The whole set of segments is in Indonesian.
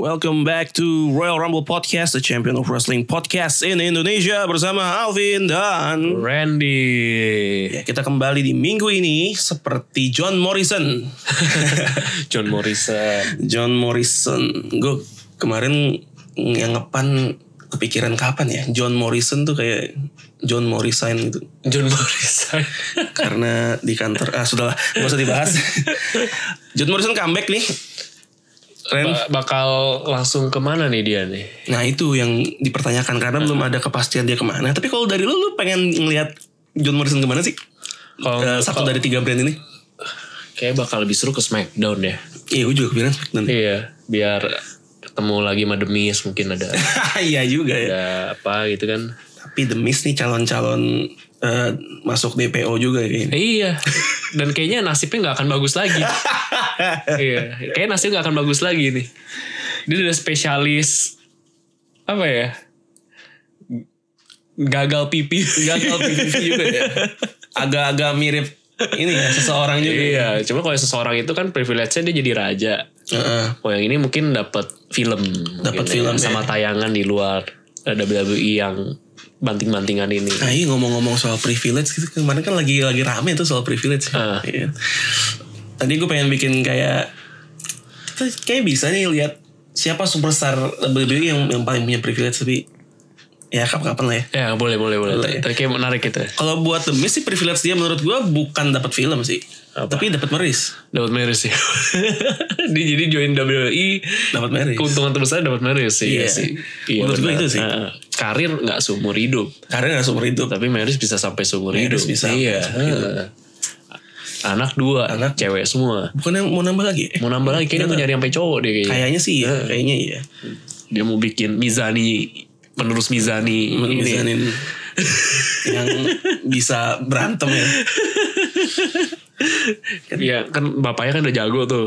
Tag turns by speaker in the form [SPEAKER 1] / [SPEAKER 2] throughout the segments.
[SPEAKER 1] Welcome back to Royal Rumble Podcast, the champion of wrestling podcast in Indonesia bersama Alvin dan
[SPEAKER 2] Randy
[SPEAKER 1] ya, kita kembali di minggu ini seperti John Morrison.
[SPEAKER 2] John Morrison
[SPEAKER 1] John Morrison, gue kemarin yang ngepan kepikiran kapan ya John Morrison tuh kayak John Morrison gitu
[SPEAKER 2] John Morrison
[SPEAKER 1] karena di kantor ah sudahlah gak usah dibahas John Morrison comeback nih Ren
[SPEAKER 2] Ba- bakal langsung kemana nih dia nih
[SPEAKER 1] Nah itu yang dipertanyakan karena belum ada kepastian dia kemana. Tapi kalau dari lu, lu pengen ngelihat John Morrison kemana sih?
[SPEAKER 2] Kalau-
[SPEAKER 1] Eh, satu dari tiga brand ini.
[SPEAKER 2] kayak bakal lebih seru ke Smackdown ya
[SPEAKER 1] Iya, gue juga kepikiran SmackDown.
[SPEAKER 2] iya biar ketemu lagi sama The Miz mungkin ada
[SPEAKER 1] Iya juga ya.
[SPEAKER 2] ada apa gitu kan
[SPEAKER 1] Tapi The Miz nih calon-calon eh, masuk DPO juga kayaknya.
[SPEAKER 2] iya dan kayaknya nasibnya nggak akan bagus lagi iya kayak nasibnya nggak akan bagus lagi nih dia udah spesialis apa ya gagal pipi
[SPEAKER 1] Gagal PVP juga ya. Agak-agak mirip ini ya seseorang juga. ya.
[SPEAKER 2] Iya, cuma kalau seseorang itu kan privilege-nya dia jadi raja.
[SPEAKER 1] Heeh.
[SPEAKER 2] Kalau yang ini mungkin dapat film,
[SPEAKER 1] Dapat film,
[SPEAKER 2] mungkin ya, sama tayangan di luar eh, WWE yang banting-bantingan ini.
[SPEAKER 1] Nah iya ngomong-ngomong soal privilege gitu kemarin kan lagi lagi rame tuh soal privilege.
[SPEAKER 2] Ah.
[SPEAKER 1] Iya. Tadi gue pengen bikin kayak kita kayak bisa nih lihat siapa superstar WWE yang yang paling punya privilege tapi ya kapan-kapan lah ya.
[SPEAKER 2] Ya boleh boleh boleh.
[SPEAKER 1] Boleh.
[SPEAKER 2] Tapi kayak menarik gitu.
[SPEAKER 1] Kalau buat The Miz sih privilege dia menurut gue bukan dapat film sih,
[SPEAKER 2] Apa?
[SPEAKER 1] tapi dapat meris,
[SPEAKER 2] Dapat merit sih. Dia jadi join WWE.
[SPEAKER 1] dapat meris.
[SPEAKER 2] Keuntungan terbesar dapat merit sih.
[SPEAKER 1] Iya.
[SPEAKER 2] sih.
[SPEAKER 1] Menurut gua
[SPEAKER 2] benar.
[SPEAKER 1] itu sih.
[SPEAKER 2] Heeh. karir nggak seumur hidup,
[SPEAKER 1] Karena nggak seumur hidup.
[SPEAKER 2] tapi merit bisa sampai seumur
[SPEAKER 1] Merit
[SPEAKER 2] hidup.
[SPEAKER 1] bisa sampai
[SPEAKER 2] Iya.
[SPEAKER 1] seumur
[SPEAKER 2] Heeh. Anak Iya. dua,
[SPEAKER 1] Anak.
[SPEAKER 2] cewek semua.
[SPEAKER 1] Bukan yang mau nambah lagi?
[SPEAKER 2] Mau Eh. nambah lagi kayaknya mau nyari sampai cowok deh kayaknya.
[SPEAKER 1] Kayaknya sih, ya, kayaknya iya.
[SPEAKER 2] dia mau bikin mizani penerus mizani ini
[SPEAKER 1] Misalnya yang bisa berantem ya.
[SPEAKER 2] ya kan bapaknya kan udah jago tuh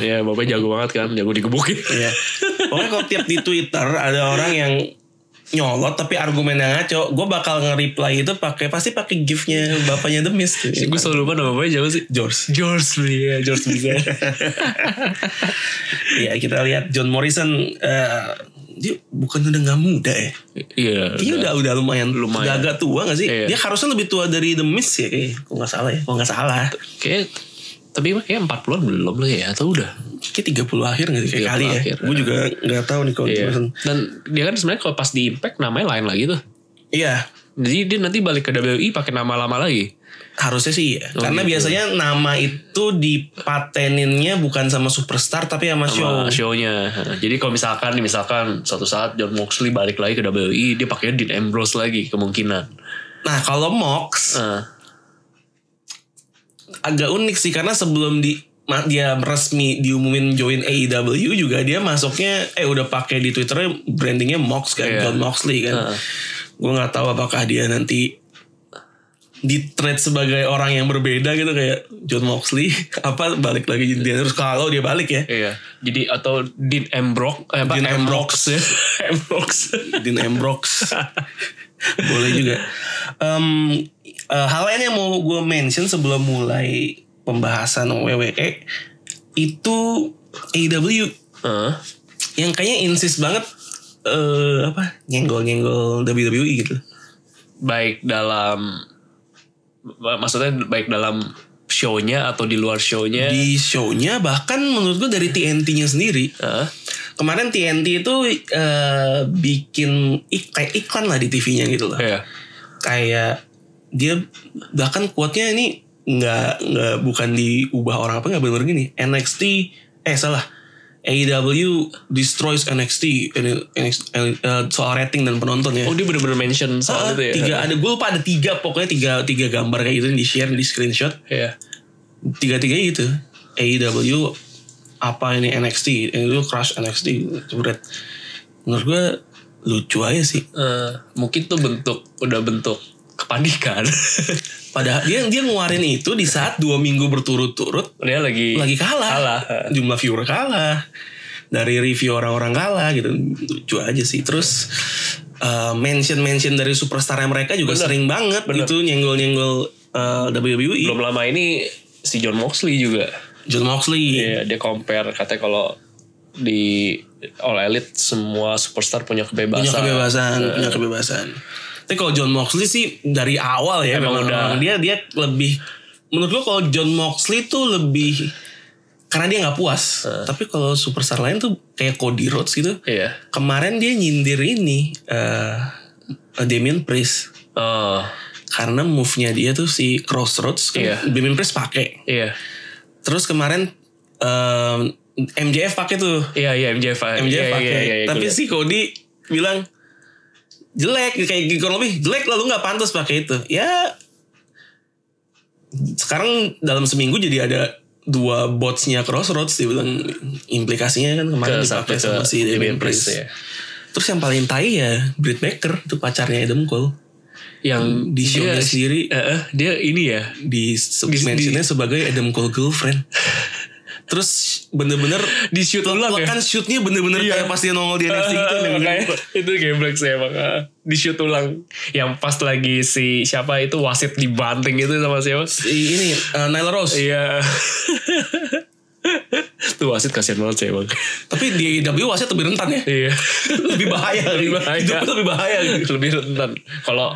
[SPEAKER 2] ya bapaknya jago banget kan jago digebukin
[SPEAKER 1] Iya. Pokoknya kalau tiap di Twitter ada orang yang nyolot tapi argumennya ngaco, gue bakal nge-reply itu pakai pasti pakai gifnya bapaknya Demis tuh.
[SPEAKER 2] gue selalu lupa nama bapaknya siapa sih
[SPEAKER 1] George.
[SPEAKER 2] George ya George Mizani
[SPEAKER 1] Iya kita lihat John Morrison eh, dia bukan udah nggak muda ya?
[SPEAKER 2] iya
[SPEAKER 1] Kayaknya udah udah lumayan,
[SPEAKER 2] Lumayan.
[SPEAKER 1] udah agak tua gak sih?
[SPEAKER 2] Iya.
[SPEAKER 1] Dia harusnya lebih tua dari Demis ya, kayaknya. Kalau nggak salah ya, kalau nggak salah.
[SPEAKER 2] kayak tapi kayak 40-an belum lah ya atau udah
[SPEAKER 1] Kayak 30 akhir gak sih kayak
[SPEAKER 2] 30
[SPEAKER 1] kali ya?
[SPEAKER 2] akhir.
[SPEAKER 1] Gue juga nggak tahu nih kalau John
[SPEAKER 2] iya
[SPEAKER 1] Morrison.
[SPEAKER 2] dan dia kan sebenarnya kalau pas di impact namanya lain lagi tuh
[SPEAKER 1] Iya,
[SPEAKER 2] jadi dia nanti balik ke WWE pakai nama lama lagi
[SPEAKER 1] Harusnya sih
[SPEAKER 2] Oh,
[SPEAKER 1] ya. Karena
[SPEAKER 2] gitu.
[SPEAKER 1] biasanya nama itu dipateninnya bukan sama superstar tapi sama, show.
[SPEAKER 2] sama show-nya. Jadi kalau misalkan nih misalkan suatu saat John Moxley balik lagi ke WWE, dia pakainya Dean Ambrose lagi kemungkinan.
[SPEAKER 1] Nah kalau Mox
[SPEAKER 2] Eh,
[SPEAKER 1] agak unik sih karena sebelum di ma- dia resmi diumumin join AEW juga dia masuknya eh udah pakai di Twitternya brandingnya Mox kan
[SPEAKER 2] Iya.
[SPEAKER 1] John Moxley kan.
[SPEAKER 2] Heeh.
[SPEAKER 1] Gue nggak tahu apakah dia nanti di trade sebagai orang yang berbeda gitu kayak John Moxley apa balik lagi jadi dia terus kalau dia balik ya
[SPEAKER 2] iya. Jadi atau Dean Ambrose, eh, apa
[SPEAKER 1] Dean
[SPEAKER 2] Ambrose, ya. Ambrose.
[SPEAKER 1] Dean Ambrose boleh juga Em, eh, hal lain yang mau gue mention sebelum mulai pembahasan WWE itu AEW
[SPEAKER 2] Heeh.
[SPEAKER 1] yang kayaknya insist banget eh apa nyenggol nyenggol WWE gitu
[SPEAKER 2] baik dalam maksudnya baik dalam show-nya atau di luar show-nya.
[SPEAKER 1] di shownya bahkan menurut gue dari TNT-nya sendiri
[SPEAKER 2] Heeh.
[SPEAKER 1] kemarin TNT itu eh, bikin ik- kayak iklan lah di TV-nya gitu loh
[SPEAKER 2] Iya.
[SPEAKER 1] kayak dia bahkan quote-nya ini nggak nggak bukan diubah orang apa nggak bener gini NXT eh salah AEW destroys NXT, eh, NXT eh, soal rating dan penonton ya.
[SPEAKER 2] Oh dia bener-bener
[SPEAKER 1] Ah,
[SPEAKER 2] mention soal itu ya.
[SPEAKER 1] tiga ada gue lupa ada tiga pokoknya tiga tiga gambar kayak gitu yang di share di screenshot
[SPEAKER 2] Iya.
[SPEAKER 1] tiga tiga gitu AEW apa ini NXT itu crush NXT Jebret. menurut gue lucu aja sih
[SPEAKER 2] Eh, mungkin tuh bentuk udah bentuk kepanikan.
[SPEAKER 1] Padahal dia dia ngeluarin itu di saat dua minggu berturut-turut
[SPEAKER 2] dia lagi
[SPEAKER 1] lagi kalah.
[SPEAKER 2] Kalah.
[SPEAKER 1] Jumlah viewer kalah. Dari review orang-orang kalah gitu. Lucu aja sih. Terus eh, mention-mention dari superstar mereka juga sering banget gitu nyenggol-nyenggol eh, WWE.
[SPEAKER 2] belum lama ini si John Moxley juga
[SPEAKER 1] John Moxley.
[SPEAKER 2] Iya, dia compare katanya kalau di All Elite semua superstar punya
[SPEAKER 1] punya
[SPEAKER 2] kebebasan. Iya.
[SPEAKER 1] kebebasan punya kebebasan tapi kalau John Moxley sih dari awal ya
[SPEAKER 2] Emang
[SPEAKER 1] memang
[SPEAKER 2] udah.
[SPEAKER 1] dia dia lebih menurut gua kalau John Moxley tuh lebih karena dia nggak puas tapi kalau superstar lain tuh kayak Cody Rhodes gitu
[SPEAKER 2] Iya.
[SPEAKER 1] kemarin dia nyindir ini eh Damien Priest
[SPEAKER 2] Oh,
[SPEAKER 1] karena move-nya dia tuh si Crossroads kan
[SPEAKER 2] Iya.
[SPEAKER 1] Damien Priest pakai
[SPEAKER 2] iya.
[SPEAKER 1] terus kemarin eh, em, MJF pakai tuh
[SPEAKER 2] Iya, iya MJF.
[SPEAKER 1] MJF
[SPEAKER 2] iya,
[SPEAKER 1] pakai.
[SPEAKER 2] iya, iya, iya,
[SPEAKER 1] Tapi
[SPEAKER 2] gua liat.
[SPEAKER 1] si Cody bilang jelek kayak gitu kurang lebih jelek lalu nggak pantas pakai itu. Ya sekarang dalam seminggu jadi ada dua botsnya Crossroads dia bilang implikasinya kan kemarin
[SPEAKER 2] Ke-
[SPEAKER 1] dipakai
[SPEAKER 2] sampai
[SPEAKER 1] sama
[SPEAKER 2] ke
[SPEAKER 1] si Damien
[SPEAKER 2] Damien Priest,
[SPEAKER 1] Priest.
[SPEAKER 2] iya.
[SPEAKER 1] Terus yang paling tai ya Britt Baker itu pacarnya Adam Cole
[SPEAKER 2] yang
[SPEAKER 1] di show-nya
[SPEAKER 2] dia,
[SPEAKER 1] sendiri
[SPEAKER 2] Eh, eh, dia ini ya.
[SPEAKER 1] di,
[SPEAKER 2] di-
[SPEAKER 1] mentionnya sebagai Adam Cole girlfriend. Terus bener-bener
[SPEAKER 2] Di shoot ulang ya.
[SPEAKER 1] kan shootnya bener-bener
[SPEAKER 2] Iya.
[SPEAKER 1] kayak pas dia nongol di NXT gitu. yang-
[SPEAKER 2] Makanya, itu geblek sih emang ah. di shoot ulang yang pas lagi si siapa itu wasit dibanting itu sama siapa
[SPEAKER 1] Si ini eh, Nyla Rose.
[SPEAKER 2] iya tuh wasit kasihan banget sih emang
[SPEAKER 1] Tapi di AEW wasitnya lebih rentan ya.
[SPEAKER 2] iya
[SPEAKER 1] Lebih bahaya.
[SPEAKER 2] Lebih bahaya.
[SPEAKER 1] Hidupnya lebih bahaya. gitu.
[SPEAKER 2] lebih rentan kalau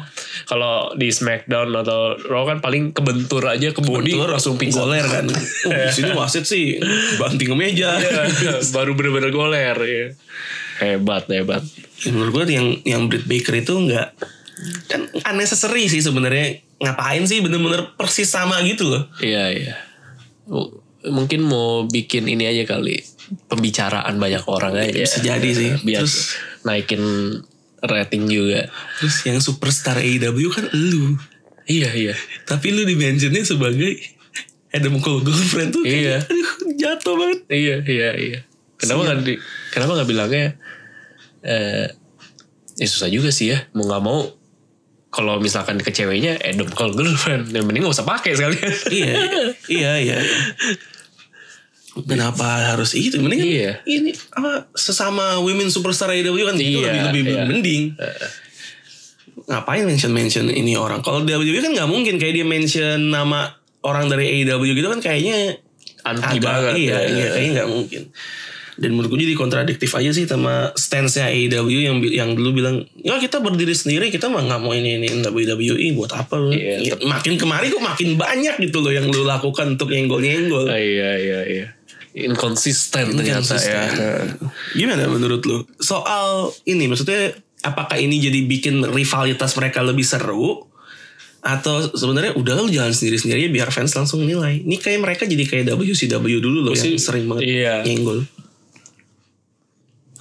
[SPEAKER 2] kalau di Smackdown atau Raw kan paling kebentur aja ke body
[SPEAKER 1] Kebetulan
[SPEAKER 2] langsung pingsan
[SPEAKER 1] goler kan. Oh, di sini wasit sih banting ke meja.
[SPEAKER 2] Iya, baru bener-bener goler iya. hebat hebat
[SPEAKER 1] Ya, menurut gue yang yang Britt Baker itu nggak kan unnecessary sih sebenarnya ngapain sih bener-bener persis sama gitu loh.
[SPEAKER 2] Iya iya. M- Mungkin mau bikin ini aja kali pembicaraan banyak orang aja.
[SPEAKER 1] Bisa jadi sih.
[SPEAKER 2] Biar
[SPEAKER 1] Terus
[SPEAKER 2] naikin rating juga.
[SPEAKER 1] terus yang superstar AEW kan lu.
[SPEAKER 2] Iya iya.
[SPEAKER 1] Tapi lu di mentionnya sebagai Adam Cole girlfriend tuh
[SPEAKER 2] Iya.
[SPEAKER 1] kayak, aduh jatuh banget.
[SPEAKER 2] Iya iya iya. Kenapa nggak di- kenapa nggak bilangnya? Eh, ya susah juga sih ya. Mau nggak mau kalau misalkan ke ceweknya Adam Cole girlfriend, yang mending gak usah pakai sekalian.
[SPEAKER 1] iya, iya, iya. Kenapa harus itu? Mending kan
[SPEAKER 2] Iya.
[SPEAKER 1] ini apa sesama women superstar AEW kan itu
[SPEAKER 2] Iya,
[SPEAKER 1] lebih lebih
[SPEAKER 2] iya.
[SPEAKER 1] mending. Ngapain mention mention ini orang? Kalau WWE kan nggak mungkin kayak dia mention nama orang dari AEW gitu kan kayaknya
[SPEAKER 2] Anti
[SPEAKER 1] agak-
[SPEAKER 2] banget.
[SPEAKER 1] Iya,
[SPEAKER 2] Iya.
[SPEAKER 1] iya kayaknya nggak mungkin. Dan menurut gue jadi kontradiktif aja sih sama stance-nya AEW yang bi- yang dulu bilang ya kita berdiri sendiri kita mah nggak mau ini ini WWE buat apa lu?
[SPEAKER 2] Iya.
[SPEAKER 1] Ya, makin kemari kok makin banyak gitu loh yang lu lakukan untuk nyenggol nyenggol.
[SPEAKER 2] Ah, iya iya iya. Inkonsisten ternyata ya.
[SPEAKER 1] kan Gimana menurut lu soal ini maksudnya apakah ini jadi bikin rivalitas mereka lebih seru atau sebenarnya udah lu jalan sendiri sendiri biar fans langsung nilai. Ini kayak mereka jadi kayak WCW dulu loh yang
[SPEAKER 2] sih-
[SPEAKER 1] sering banget
[SPEAKER 2] iya.
[SPEAKER 1] nyenggol.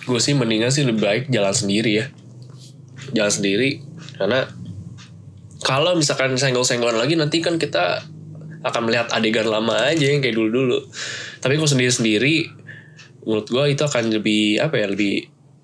[SPEAKER 2] gue sih mendingan sih lebih baik jalan sendiri ya jalan sendiri karena kalau misalkan senggol-senggolan lagi nanti kan kita akan melihat adegan lama aja yang kayak dulu-dulu tapi kalau sendiri-sendiri menurut gue itu akan lebih apa ya lebih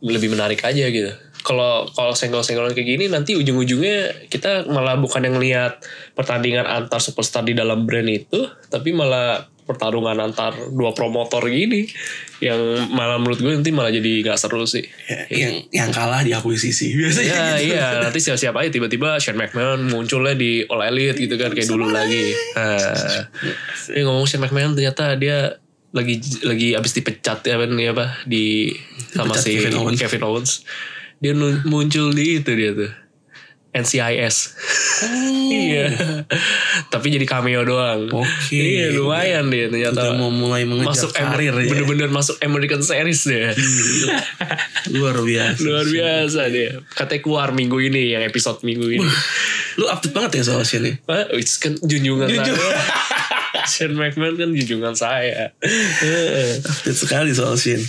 [SPEAKER 2] lebih menarik aja gitu kalau kalau senggol-senggolan kayak gini nanti ujung-ujungnya kita malah bukan yang lihat pertandingan antar superstar di dalam brand itu tapi malah pertarungan antar dua promotor gini yang malah menurut gue nanti malah jadi nggak seru sih
[SPEAKER 1] Ya, yang yang kalah diakui sisi biasanya
[SPEAKER 2] Ya
[SPEAKER 1] gitu.
[SPEAKER 2] iya nanti siap-siap aja tiba-tiba Shane McMahon munculnya di All Elite gitu kan kayak dulu lagi.
[SPEAKER 1] Iya.
[SPEAKER 2] Nah, ini ngomong Shane McMahon ternyata dia lagi lagi abis dipecat ya kan ya apa di sama
[SPEAKER 1] Dipecat
[SPEAKER 2] si
[SPEAKER 1] Kevin
[SPEAKER 2] Kevin
[SPEAKER 1] Owens.
[SPEAKER 2] Owens. Dia nu- muncul di itu dia tuh. NCIS.
[SPEAKER 1] Oh.
[SPEAKER 2] Iya. Tapi jadi cameo doang.
[SPEAKER 1] Oke.
[SPEAKER 2] Iya lumayan dia
[SPEAKER 1] Udah
[SPEAKER 2] ternyata.
[SPEAKER 1] mau mulai mengejar
[SPEAKER 2] Masuk
[SPEAKER 1] karir ya.
[SPEAKER 2] Amer-
[SPEAKER 1] Iya.
[SPEAKER 2] bener-bener masuk American series deh.
[SPEAKER 1] Luar biasa.
[SPEAKER 2] Luar biasa dia. Katanya keluar minggu ini yang episode minggu ini.
[SPEAKER 1] Lu update banget ya soal sini.
[SPEAKER 2] Wah, it's kan junjungan
[SPEAKER 1] Junjung.
[SPEAKER 2] saya. Shane McMahon kan junjungan saya.
[SPEAKER 1] Update sekali soal Shin.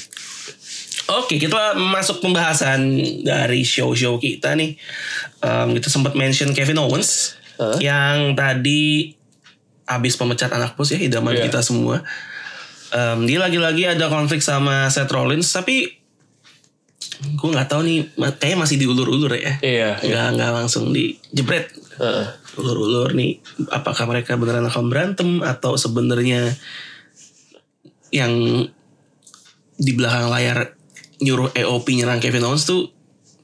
[SPEAKER 1] Oke, kita masuk pembahasan dari show-show kita nih. Em, kita sempat mention Kevin Owens
[SPEAKER 2] Hah?
[SPEAKER 1] yang tadi abis pemecat anak bos ya idaman
[SPEAKER 2] Iya.
[SPEAKER 1] kita semua. Em, dia lagi-lagi ada konflik sama Seth Rollins, tapi gue nggak tahu nih, ma- kayaknya masih diulur-ulur ya.
[SPEAKER 2] Iya, iya.
[SPEAKER 1] Nggak nggak langsung dijebret
[SPEAKER 2] Heeh.
[SPEAKER 1] ulur-ulur nih apakah mereka beneran akan berantem atau sebenarnya yang di belakang layar nyuruh EOP nyerang Kevin Owens tuh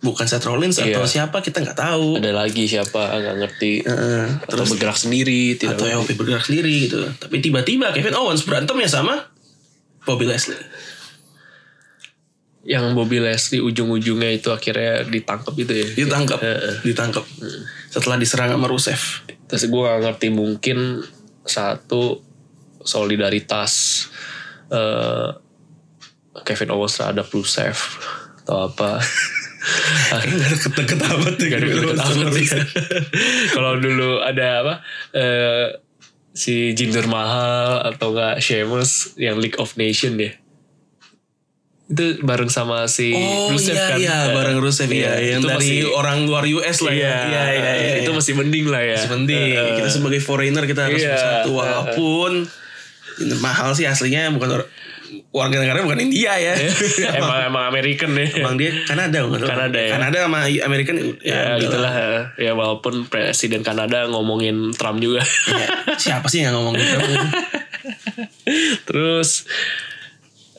[SPEAKER 1] bukan Seth Rollins atau
[SPEAKER 2] Iya.
[SPEAKER 1] siapa kita nggak tahu
[SPEAKER 2] Ada lagi siapa nggak ngerti
[SPEAKER 1] Heeh.
[SPEAKER 2] atau bergerak sendiri tidak
[SPEAKER 1] atau EOP bergerak sendiri gitu tapi tiba-tiba Kevin Owens berantem ya sama Bobby Leslie
[SPEAKER 2] yang Bobby Leslie ujung-ujungnya itu akhirnya ditangkap itu ya.
[SPEAKER 1] ditangkap
[SPEAKER 2] Heeh.
[SPEAKER 1] ditangkap setelah diserang sama Rusev
[SPEAKER 2] Terus gue gak ngerti mungkin satu solidaritas eh, Kevin Owens terhadap Rusev atau apa.
[SPEAKER 1] kayaknya nggak deket-deket amat iya. deh
[SPEAKER 2] Gak ada
[SPEAKER 1] Kevin
[SPEAKER 2] yang
[SPEAKER 1] Owens sama
[SPEAKER 2] tahu sih.
[SPEAKER 1] Rusev.
[SPEAKER 2] Iya. Kalau dulu ada apa eh, si Jinder Mahal atau enggak Sheamus yang League of Nation deh. Itu bareng sama si
[SPEAKER 1] oh
[SPEAKER 2] Rusev
[SPEAKER 1] iya
[SPEAKER 2] kan.
[SPEAKER 1] iya bareng Rusev iya
[SPEAKER 2] Iya,
[SPEAKER 1] yang
[SPEAKER 2] itu
[SPEAKER 1] dari
[SPEAKER 2] masih-
[SPEAKER 1] orang luar US lah
[SPEAKER 2] Iya,
[SPEAKER 1] ya iya iya, iya.
[SPEAKER 2] itu masih mending lah ya.
[SPEAKER 1] Itu penting
[SPEAKER 2] Eh,
[SPEAKER 1] kita sebagai foreigner kita harus
[SPEAKER 2] Iya.
[SPEAKER 1] bersatu walaupun ini mahal sih aslinya bukan or- warga negara bukan India ya
[SPEAKER 2] eh. emang emang American deh.
[SPEAKER 1] Emang dia Kanada bukan?
[SPEAKER 2] Iya. Kanada, ya.
[SPEAKER 1] Kanada sama American
[SPEAKER 2] ya
[SPEAKER 1] ya, gitu
[SPEAKER 2] gitulah ya walaupun presiden Kanada ngomongin Trump juga
[SPEAKER 1] Ya, siapa sih yang ngomong gitu?
[SPEAKER 2] terus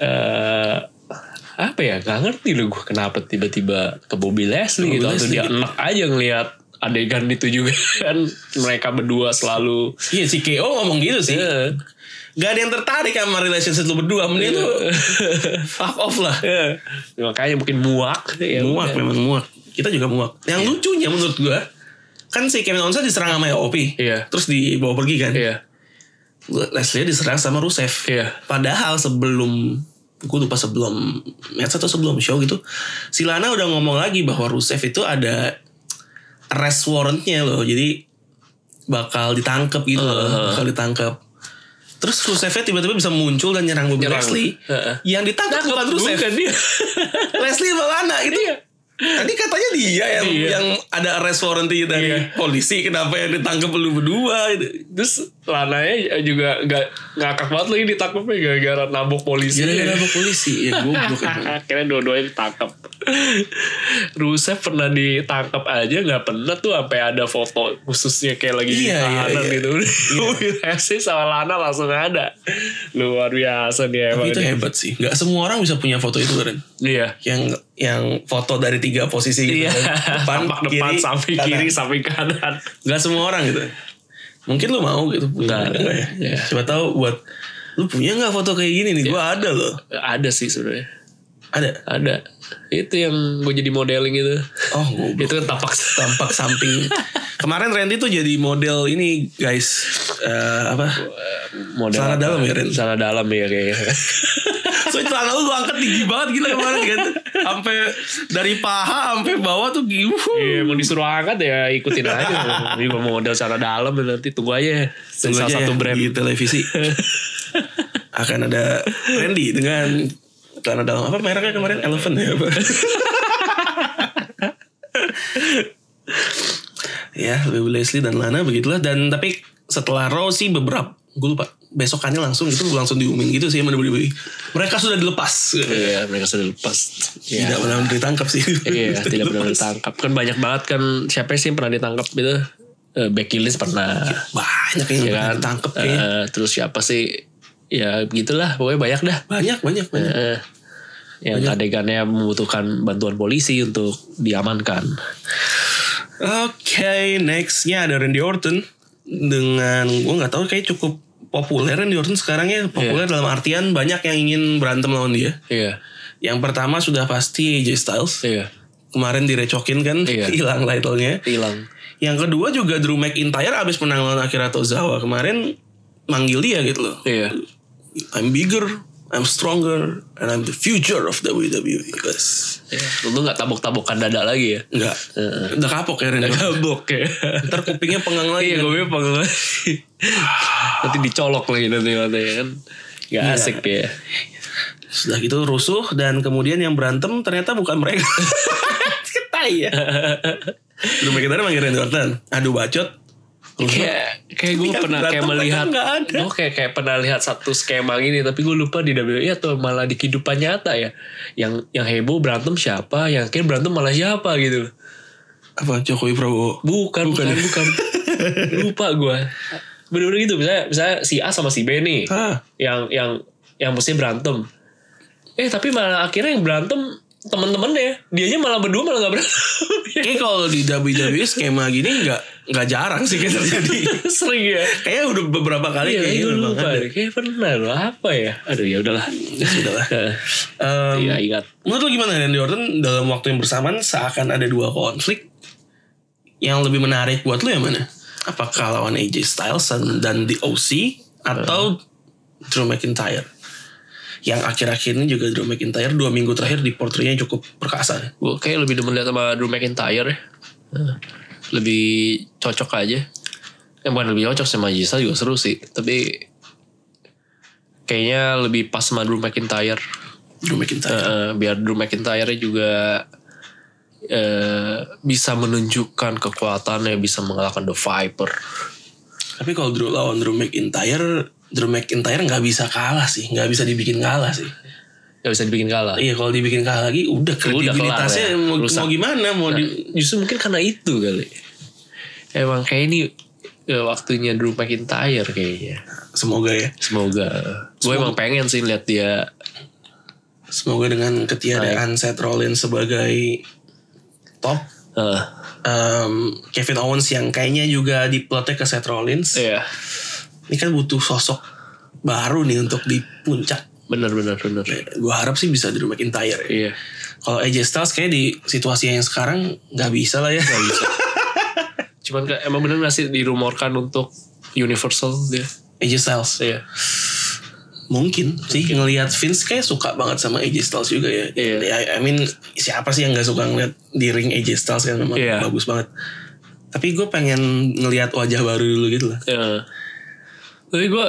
[SPEAKER 2] eh apa ya nggak ngerti loh gue kenapa tiba-tiba ke Bobby
[SPEAKER 1] Ke Bobby
[SPEAKER 2] Leslie gitu atau
[SPEAKER 1] Leslie.
[SPEAKER 2] dia enak aja ngelihat adegan itu juga kan mereka berdua selalu
[SPEAKER 1] Iya si KO ngomong gitu sih.
[SPEAKER 2] eh,
[SPEAKER 1] Gak ada yang tertarik sama relationship lu berdua.
[SPEAKER 2] Iya.
[SPEAKER 1] Mending lu fuck off lah. Iya,
[SPEAKER 2] eh, makanya mungkin muak ya Iya.
[SPEAKER 1] muak memang muak. Kita juga muak. Yang lucunya menurut gua kan si Kevin Owens diserang sama OP.
[SPEAKER 2] Iya.
[SPEAKER 1] Terus dibawa pergi kan.
[SPEAKER 2] iya
[SPEAKER 1] Leslie diserang sama Rusev.
[SPEAKER 2] Iya.
[SPEAKER 1] Padahal sebelum gue lupa sebelum match atau sebelum show gitu, si Lana udah ngomong lagi bahwa Rusev itu ada arrest warrantnya loh, jadi bakal ditangkep gitu, loh, bakal ditangkep. Terus Rusevnya tiba-tiba bisa muncul dan nyerang Bobby
[SPEAKER 2] Nyerang.
[SPEAKER 1] Leslie.
[SPEAKER 2] Heeh.
[SPEAKER 1] Yang ditangkap bukan Rusev,
[SPEAKER 2] bukan iya. dia
[SPEAKER 1] Leslie sama Lana itu.
[SPEAKER 2] Iya.
[SPEAKER 1] Tadi katanya dia yang
[SPEAKER 2] Iya.
[SPEAKER 1] yang ada arrest warrant dari
[SPEAKER 2] Iya.
[SPEAKER 1] polisi, kenapa yang ditangkep lu berdua? gitu.
[SPEAKER 2] terus lananya juga nggak ngakak banget lagi ditangkapnya gara-gara nabok polisi
[SPEAKER 1] Gara-gara apa polisi? Ya goblok emang.
[SPEAKER 2] akhirnya dua-duanya ditangkap Rusev pernah ditangkap aja nggak pernah tuh sampai ada foto khususnya kayak lagi
[SPEAKER 1] Iya,
[SPEAKER 2] di tahanan
[SPEAKER 1] iya, iya.
[SPEAKER 2] gitu iya. sama Lana langsung ada luar biasa
[SPEAKER 1] Tapi
[SPEAKER 2] dia emang
[SPEAKER 1] gitu. itu hebat sih. Gak semua orang bisa punya foto itu kan.
[SPEAKER 2] iya
[SPEAKER 1] Yang yang foto dari tiga posisi gitu.
[SPEAKER 2] Iya,
[SPEAKER 1] kan.
[SPEAKER 2] Tampak depan, samping
[SPEAKER 1] kanan.
[SPEAKER 2] kiri, samping kanan.
[SPEAKER 1] Gak semua orang gitu. Mungkin lu mau gitu punya.
[SPEAKER 2] Nggak ada.
[SPEAKER 1] Nggak ya?
[SPEAKER 2] Iya.
[SPEAKER 1] Siapa tahu buat lu punya nggak foto kayak gini nih? Gua ada loh.
[SPEAKER 2] Ada sih sebenarnya,
[SPEAKER 1] Ada.
[SPEAKER 2] ada. Itu yang gue jadi modeling itu.
[SPEAKER 1] Oh, goblok.
[SPEAKER 2] Itu kan tampak
[SPEAKER 1] Tampak samping. Kemarin Randy tuh jadi model ini guys Eh, apa?
[SPEAKER 2] model
[SPEAKER 1] Celana dalam ya, Ren?
[SPEAKER 2] Celana dalam iya. ya kayaknya.
[SPEAKER 1] So itu celana lu lu angkat tinggi banget gila kemarin kan. Sampai dari paha sampai bawah tuh gitu.
[SPEAKER 2] Iya, mau disuruh angkat ya ikutin aja. Ini mau Iya, model cara dalam nanti tunggu aja.
[SPEAKER 1] Tunggu
[SPEAKER 2] salah
[SPEAKER 1] aja
[SPEAKER 2] satu
[SPEAKER 1] ya
[SPEAKER 2] brand.
[SPEAKER 1] di televisi akan ada Randy dengan celana dalam apa mereknya kemarin Elephant ya apa? ya Bobby Leslie dan Lana begitulah dan tapi setelah Raw sih beberapa gue lupa besokannya langsung gitu langsung diumumin gitu sih mana beli mereka sudah dilepas
[SPEAKER 2] Iya, mereka sudah lepas.
[SPEAKER 1] tidak pernah ditangkap sih
[SPEAKER 2] Iya, tidak pernah
[SPEAKER 1] Dilepas.
[SPEAKER 2] ditangkap. Kan banyak banget kan siapa sih yang pernah ditangkap gitu? Eh, Becky Lynch pernah.
[SPEAKER 1] banyak yang
[SPEAKER 2] Ya
[SPEAKER 1] pernah
[SPEAKER 2] kan?
[SPEAKER 1] ditangkap kayaknya.
[SPEAKER 2] Eh, terus siapa sih? Ya gitulah, pokoknya banyak dah.
[SPEAKER 1] banyak banyak banyak
[SPEAKER 2] Eh, yang adegannya membutuhkan bantuan polisi untuk diamankan.
[SPEAKER 1] Oke, nextnya ada Randy Orton dengan gue nggak tahu kayak cukup populer Randy Orton sekarang ya populer dalam artian banyak yang ingin berantem lawan dia.
[SPEAKER 2] Iya,
[SPEAKER 1] Yang pertama sudah pasti AJ Styles
[SPEAKER 2] iya.
[SPEAKER 1] kemarin direcokin kan
[SPEAKER 2] Iya.
[SPEAKER 1] hilang titlenya.
[SPEAKER 2] Hilang.
[SPEAKER 1] Yang kedua juga Drew McIntyre abis menang lawan Akira Tozawa kemarin manggil dia gitu loh.
[SPEAKER 2] Iya.
[SPEAKER 1] I'm bigger, I'm stronger, and I'm the future of WWE guys.
[SPEAKER 2] Iya. Lu nggak tabok-tabokan dada lagi ya?
[SPEAKER 1] Enggak, udah kapok ya Randy. Orton.
[SPEAKER 2] Tabok ya.
[SPEAKER 1] Ntar kupingnya pengang lagi.
[SPEAKER 2] Iya gue bilang pengen lagi. Nanti dicolok lagi nanti matanya kan Gak asik dia
[SPEAKER 1] Sudah gitu rusuh dan kemudian yang berantem ternyata bukan mereka. Ketai ya. Drew McIntyre manggil Randy Orton. Aduh bacot.
[SPEAKER 2] Kayak kayak gue
[SPEAKER 1] Ini kan
[SPEAKER 2] pernah kayak
[SPEAKER 1] berantem,
[SPEAKER 2] melihat
[SPEAKER 1] bahkan nggak ada.
[SPEAKER 2] Gue kayak, kayak pernah lihat satu skema gini Tapi gue lupa di WWE atau malah di kehidupan nyata ya Yang yang heboh berantem siapa Yang akhirnya berantem malah siapa gitu
[SPEAKER 1] Apa Jokowi Prabowo?
[SPEAKER 2] Bukan bukan bukan, Lupa gue Bener-bener gitu misalnya, misalnya si A sama si B nih
[SPEAKER 1] Hah?
[SPEAKER 2] yang yang yang mesti berantem eh tapi malah akhirnya yang berantem temen-temennya dianya malah berdua malah nggak Ya, berani
[SPEAKER 1] Kayaknya kalau di WWE skema gini nggak nggak jarang sih kayak terjadi.
[SPEAKER 2] sering ya
[SPEAKER 1] Kayaknya udah beberapa kali
[SPEAKER 2] Iya,
[SPEAKER 1] kayaknya kan.
[SPEAKER 2] gue
[SPEAKER 1] udah
[SPEAKER 2] lupa.
[SPEAKER 1] banget.
[SPEAKER 2] deh. Kayaknya pernah loh. Apa ya? Aduh, ya udahlah.
[SPEAKER 1] Sudahlah.
[SPEAKER 2] Eh,
[SPEAKER 1] Em,
[SPEAKER 2] Iya, ingat.
[SPEAKER 1] Menurut lu gimana Randy Orton dalam waktu yang bersamaan seakan ada dua konflik yang lebih menarik buat lu yang mana? Apakah lawan AJ Styles dan- dan The OC atau Drew McIntyre? Yang akhir-akhir ini juga Drew McIntyre dua minggu terakhir di portrinya cukup perkasa.
[SPEAKER 2] Gue kayak lebih demen lihat sama Drew McIntyre ya. Eh, Lebih cocok aja. Eh, bukan lebih cocok sama Jisa juga seru sih. Tapi kayaknya lebih pas sama Drew McIntyre.
[SPEAKER 1] Drew
[SPEAKER 2] Eh,
[SPEAKER 1] McIntyre.
[SPEAKER 2] eh, biar Drew McIntyre juga eh, bisa menunjukkan kekuatannya, bisa mengalahkan The Viper.
[SPEAKER 1] Tapi kalau Drew lawan Drew McIntyre, Drew McIntyre nggak bisa kalah sih, nggak bisa dibikin kalah sih.
[SPEAKER 2] Gak bisa dibikin kalah.
[SPEAKER 1] Iya kalau dibikin kalah lagi udah
[SPEAKER 2] kelar
[SPEAKER 1] kredibilitasnya
[SPEAKER 2] ya,
[SPEAKER 1] mau,
[SPEAKER 2] rusak.
[SPEAKER 1] mau gimana mau di
[SPEAKER 2] justru mungkin karena itu kali emang kayak ini eh, waktunya Drew McIntyre kayaknya
[SPEAKER 1] semoga ya
[SPEAKER 2] semoga gue emang pengen sih lihat dia
[SPEAKER 1] Semoga dengan ketiadaan Seth Rollins sebagai top,
[SPEAKER 2] eh,
[SPEAKER 1] em, Kevin Owens yang kayaknya juga diplotnya ke Seth Rollins.
[SPEAKER 2] iya
[SPEAKER 1] Ini kan butuh sosok baru nih untuk di puncak.
[SPEAKER 2] bener bener bener
[SPEAKER 1] Gue harap sih bisa Drew McIntyre. ya.
[SPEAKER 2] iya
[SPEAKER 1] Kalau AJ Styles kayaknya di situasi yang sekarang nggak bisa lah
[SPEAKER 2] Iya.
[SPEAKER 1] ya.
[SPEAKER 2] cuman kayak- emang bener gak sih dirumorkan untuk Universal dia
[SPEAKER 1] AJ Styles
[SPEAKER 2] iya
[SPEAKER 1] mungkin sih ngelihat Vince kayak suka banget sama AJ Styles juga ya.
[SPEAKER 2] Iya.
[SPEAKER 1] Ya, I mean siapa sih yang nggak suka ngeliat di ring AJ Styles kan memang
[SPEAKER 2] Iya.
[SPEAKER 1] bagus banget. Tapi gue pengen ngelihat wajah baru dulu gitu lah.
[SPEAKER 2] Iya. tapi gue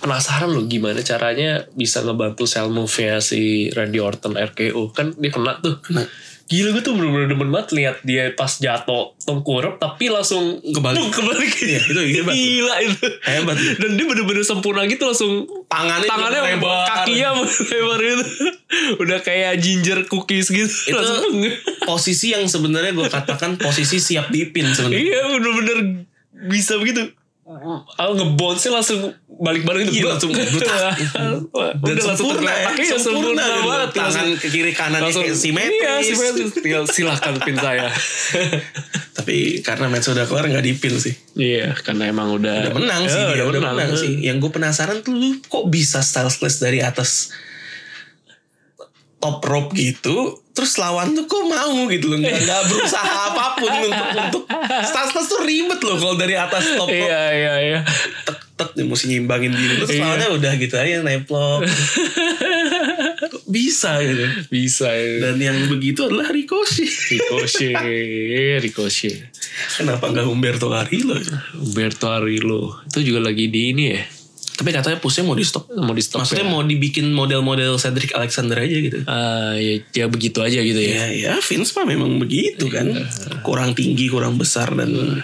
[SPEAKER 2] penasaran loh gimana caranya bisa ngebantu sel move nya si Randy Orton RKO kan dia kena tuh
[SPEAKER 1] Nah,
[SPEAKER 2] Gila gue tuh bener-bener demen banget lihat dia pas jatuh tengkurap tapi langsung
[SPEAKER 1] Kebalik.
[SPEAKER 2] Duh, kebalik.
[SPEAKER 1] Iya, itu hebat.
[SPEAKER 2] Gila itu.
[SPEAKER 1] Hebat.
[SPEAKER 2] Dan dia bener-bener sempurna gitu langsung
[SPEAKER 1] Tangannya juga
[SPEAKER 2] tangannya ya.
[SPEAKER 1] lebar.
[SPEAKER 2] kakinya lebar gitu. Udah kayak ginger cookies gitu.
[SPEAKER 1] Itu-
[SPEAKER 2] Langsung.
[SPEAKER 1] posisi yang sebenarnya gue katakan posisi siap dipin sebenarnya.
[SPEAKER 2] iya bener-bener bisa begitu. Aku ngebonsnya langsung balik-balik gitu.
[SPEAKER 1] Iya, langsung
[SPEAKER 2] Udah
[SPEAKER 1] butak. Dan
[SPEAKER 2] langsung
[SPEAKER 1] sempurna, ya,
[SPEAKER 2] tergeletak. Iya,
[SPEAKER 1] sempurna,
[SPEAKER 2] sempurna,
[SPEAKER 1] gitu.
[SPEAKER 2] banget.
[SPEAKER 1] Tangan
[SPEAKER 2] Langsung-
[SPEAKER 1] ke kiri kanan
[SPEAKER 2] langsung
[SPEAKER 1] simetris.
[SPEAKER 2] Iya, simetris. Tinggal silahkan pin saya.
[SPEAKER 1] Tapi karena match udah kelar nggak dipin sih.
[SPEAKER 2] Iya, karena emang udah
[SPEAKER 1] Udah menang sih dia,
[SPEAKER 2] Iya,
[SPEAKER 1] Eh, udah, menang, sih. Yang gue penasaran tuh lu kok bisa stylesless dari atas top rope gitu terus lawan tuh kok mau gitu loh nggak, nggak berusaha apapun untuk untuk stylesless tuh ribet loh kalau dari atas top rope
[SPEAKER 2] Iya, iya, iya.
[SPEAKER 1] tek tek dia mesti nyimbangin diri terus lawannya udah gitu aja nemplok Kok bisa gitu
[SPEAKER 2] Bisa. Ya.
[SPEAKER 1] dan yang begitu adalah Ricochet
[SPEAKER 2] Ricochet, Ricochet.
[SPEAKER 1] kenapa nggak Humberto Carrillo ya?
[SPEAKER 2] Umberto Arillo. Itu juga lagi di ini ya.
[SPEAKER 1] tapi katanya pushnya mau di stop
[SPEAKER 2] Mau di stop
[SPEAKER 1] maksudnya
[SPEAKER 2] ya.
[SPEAKER 1] mau dibikin model-model Cedric Alexander aja gitu
[SPEAKER 2] Ah, ya, ya begitu aja gitu ya.
[SPEAKER 1] Ya, ya Vince mah memang begitu kan.
[SPEAKER 2] Iya.
[SPEAKER 1] Kurang tinggi, kurang besar dan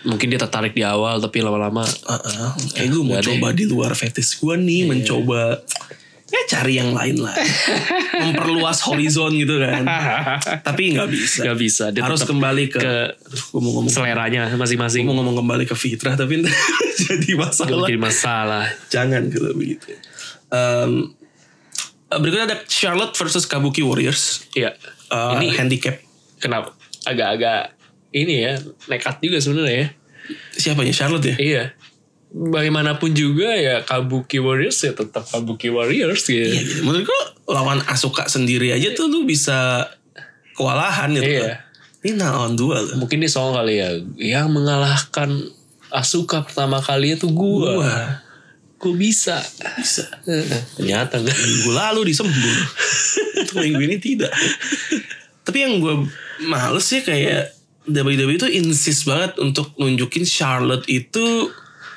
[SPEAKER 2] Mungkin dia tertarik di awal tapi lama-lama
[SPEAKER 1] Ah, ah,
[SPEAKER 2] Ya,
[SPEAKER 1] kayak gue mau coba di luar fetish gue
[SPEAKER 2] Iya.
[SPEAKER 1] nih, mencoba ya cari yang lain lah. Memperluas horizon gitu kan. Tapi nggak bisa.
[SPEAKER 2] nggak bisa. Dia
[SPEAKER 1] Harus
[SPEAKER 2] tetap
[SPEAKER 1] kembali ke,
[SPEAKER 2] ke
[SPEAKER 1] Aduh, gue mau ngomong
[SPEAKER 2] seleranya
[SPEAKER 1] gue
[SPEAKER 2] masing-masing.
[SPEAKER 1] mau ngomong kembali ke fitrah tapi ntar jadi masalah.
[SPEAKER 2] Jadi masalah.
[SPEAKER 1] Jangan kalau begitu. Em, berikutnya ada Charlotte versus Kabuki Warriors.
[SPEAKER 2] Iya.
[SPEAKER 1] Ini handicap
[SPEAKER 2] Kenapa? Agak-agak ini ya nekat juga sebenarnya ya.
[SPEAKER 1] siapanya Charlotte ya?
[SPEAKER 2] Iya. Bagaimanapun juga ya Kabuki Warriors ya tetap Kabuki Warriors gitu.
[SPEAKER 1] Iya, gitu. menurut gua lawan Asuka sendiri aja tuh lu bisa kewalahan gitu.
[SPEAKER 2] Iya.
[SPEAKER 1] kan. Ini nah on dua loh.
[SPEAKER 2] mungkin dia soal kali ya yang mengalahkan Asuka pertama kali itu gua
[SPEAKER 1] Wah,
[SPEAKER 2] gua bisa
[SPEAKER 1] bisa.
[SPEAKER 2] ternyata enggak
[SPEAKER 1] Minggu lalu disembur. Untuk minggu ini tidak. Tapi yang gua males sih kayak WWE itu insist banget untuk nunjukin Charlotte itu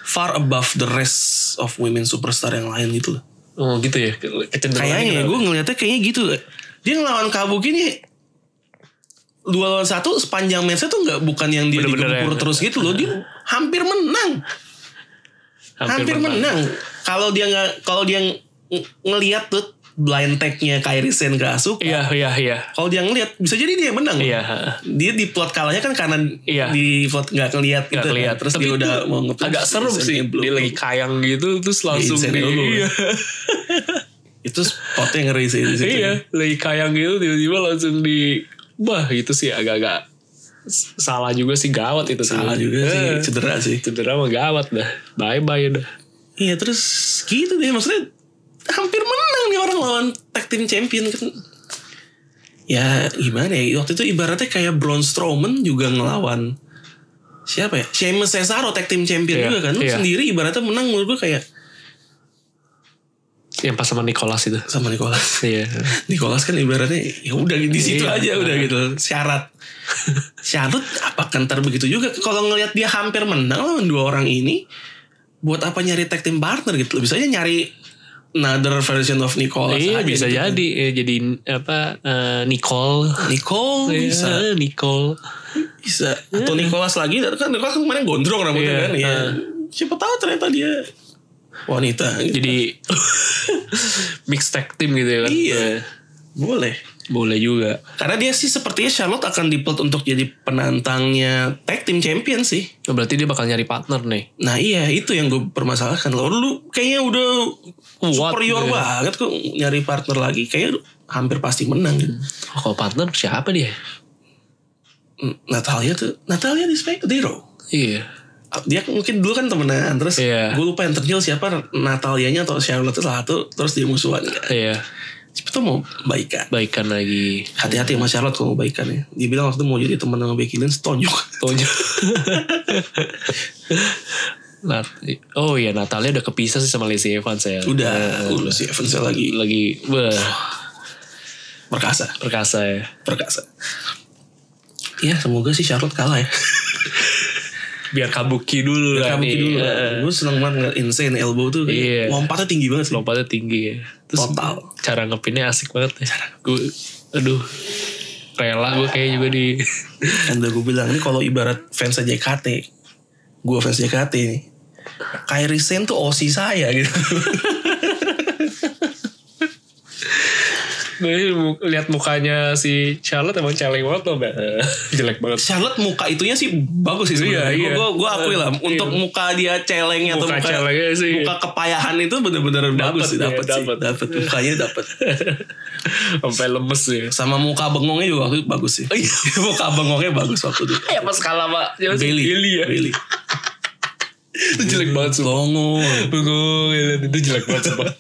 [SPEAKER 1] far above the rest of women superstar yang lain gitu loh.
[SPEAKER 2] oh gitu ya kecenderungannya
[SPEAKER 1] Kayaknya
[SPEAKER 2] kenapa?
[SPEAKER 1] gue ngeliatnya kayaknya gitu. Dia ngelawan Kabuki nih dua lawan satu sepanjang matchnya tuh nggak bukan yang dia
[SPEAKER 2] Bener-bener
[SPEAKER 1] digempur
[SPEAKER 2] ya.
[SPEAKER 1] terus gitu loh. Dia hampir menang, hampir, menang. Kalau dia nggak kalau dia ng- ng- ngeliat tuh blind tag-nya Kairi Sen ke Asuka.
[SPEAKER 2] iya iya iya
[SPEAKER 1] Kalau dia ngeliat bisa jadi dia menang.
[SPEAKER 2] iya
[SPEAKER 1] Dia di plot kalahnya kan karena
[SPEAKER 2] Iya.
[SPEAKER 1] di plot nggak ngeliat gitu.
[SPEAKER 2] Gak
[SPEAKER 1] kan.
[SPEAKER 2] kelihatan.
[SPEAKER 1] Terus
[SPEAKER 2] Tapi
[SPEAKER 1] dia
[SPEAKER 2] itu
[SPEAKER 1] udah mau nge-push
[SPEAKER 2] agak serem
[SPEAKER 1] Insane
[SPEAKER 2] sih.
[SPEAKER 1] Elbow.
[SPEAKER 2] Dia lagi kayang gitu terus langsung
[SPEAKER 1] Insane
[SPEAKER 2] di,
[SPEAKER 1] elbow.
[SPEAKER 2] iya.
[SPEAKER 1] itu spotnya ngeri sih di situ. ya.
[SPEAKER 2] iya lagi kayang gitu tiba-tiba langsung di bah itu sih agak-agak s- salah juga sih gawat itu
[SPEAKER 1] Salah juga sih,
[SPEAKER 2] Eh,
[SPEAKER 1] cedera sih.
[SPEAKER 2] cedera mah gawat dah bye bye dah
[SPEAKER 1] Iya terus gitu deh maksudnya hampir menang nih orang lawan tag team champion kan. Ya gimana ya waktu itu ibaratnya kayak Braun Strowman juga ngelawan siapa ya Sheamus Cesaro tag team champion
[SPEAKER 2] Iya,
[SPEAKER 1] juga kan Lu
[SPEAKER 2] iya.
[SPEAKER 1] sendiri ibaratnya menang menurut gue kayak
[SPEAKER 2] yang pas sama Nicholas itu
[SPEAKER 1] sama Nicholas.
[SPEAKER 2] iya
[SPEAKER 1] Nicholas kan ibaratnya ya udah di situ
[SPEAKER 2] Iya.
[SPEAKER 1] aja udah gitu syarat syarat apa kan ntar begitu juga kalau ngelihat dia hampir menang lawan dua orang ini buat apa nyari tag team partner gitu bisa aja nyari another version of Nicholas
[SPEAKER 2] iya
[SPEAKER 1] aja
[SPEAKER 2] bisa
[SPEAKER 1] gitu.
[SPEAKER 2] jadi Eh, jadi apa eh, Nicole
[SPEAKER 1] Nicole Oh, bisa
[SPEAKER 2] Iya, Nicole
[SPEAKER 1] bisa atau Nicholas lagi kan Nicholas kan kemarin gondrong rambutnya
[SPEAKER 2] Iya,
[SPEAKER 1] kan ya
[SPEAKER 2] eh.
[SPEAKER 1] siapa tahu ternyata dia wanita gitu.
[SPEAKER 2] jadi mix tag team gitu ya kan
[SPEAKER 1] Iya.
[SPEAKER 2] Eh,
[SPEAKER 1] boleh
[SPEAKER 2] boleh juga
[SPEAKER 1] karena dia sih sepertinya Charlotte akan di-build untuk jadi penantangnya tag team champion sih
[SPEAKER 2] Oh, berarti dia bakal nyari partner nih
[SPEAKER 1] Nah iya itu yang gue permasalahkan loh. Lu kayaknya udah
[SPEAKER 2] Kuat,
[SPEAKER 1] superior
[SPEAKER 2] iya.
[SPEAKER 1] banget kok nyari partner lagi. Kayaknya hampir pasti menang. gitu.
[SPEAKER 2] oh, kalau partner siapa dia Hmm.
[SPEAKER 1] Natalia tuh Natalia di Spectro.
[SPEAKER 2] iya
[SPEAKER 1] Dia mungkin dulu kan temenan terus
[SPEAKER 2] Iya.
[SPEAKER 1] gue lupa yang terjil siapa Natalianya atau Charlotte salah satu terus dia musuhan. kan.
[SPEAKER 2] iya
[SPEAKER 1] Siapa tuh mau baikan.
[SPEAKER 2] baikan lagi
[SPEAKER 1] Hati-hati sama Charlotte kalau mau baikan ya. Dia bilang waktu itu mau jadi teman sama Becky Lynch tonjok.
[SPEAKER 2] Tonjol. Nat oh iya Natalia udah kepisah sih sama Lacey Evans ya.
[SPEAKER 1] Udah, udah si Evans lagi
[SPEAKER 2] Lagi wah,
[SPEAKER 1] perkasa,
[SPEAKER 2] perkasa ya.
[SPEAKER 1] perkasa. Ya semoga sih Charlotte kalah ya.
[SPEAKER 2] Biar kabuki dulu lah
[SPEAKER 1] Kabuki
[SPEAKER 2] nih.
[SPEAKER 1] dulu lah.
[SPEAKER 2] Eh,
[SPEAKER 1] Gue seneng banget ngeliat insane elbow tuh kayak
[SPEAKER 2] Iya.
[SPEAKER 1] lompatnya tinggi banget sih.
[SPEAKER 2] Lompatnya tinggi ya. Terus
[SPEAKER 1] Total.
[SPEAKER 2] cara ngepinnya asik banget ya. Gue aduh rela gue kayak juga di
[SPEAKER 1] Kan udah gue bilang ini kalau ibarat fans JKT, gue fans JKT nih. Kairi Sen tuh osi saya gitu.
[SPEAKER 2] Nih, mu- lihat mukanya si Charlotte emang celeng banget loh Mbak. jelek banget
[SPEAKER 1] Charlotte muka itunya sih bagus sih sebenarnya.
[SPEAKER 2] Iya, iya.
[SPEAKER 1] Gue gue akui lah
[SPEAKER 2] Iya.
[SPEAKER 1] untuk muka dia celeng atau
[SPEAKER 2] Muka
[SPEAKER 1] muka
[SPEAKER 2] celengnya sih.
[SPEAKER 1] muka kepayahan itu bener-bener bagus sih
[SPEAKER 2] iya,
[SPEAKER 1] dapat sih
[SPEAKER 2] dapet.
[SPEAKER 1] dapat mukanya dapat
[SPEAKER 2] sampai lemes ya
[SPEAKER 1] sama muka bengongnya juga waktu itu bagus sih muka bengongnya bagus waktu itu
[SPEAKER 2] ya pas kalah pak Siapa Iya. sih?
[SPEAKER 1] Bailey
[SPEAKER 2] Bailey ya
[SPEAKER 1] Bailey
[SPEAKER 2] itu jelek banget sumpah
[SPEAKER 1] Bengong.
[SPEAKER 2] Bengong, gila. itu jelek banget sumpah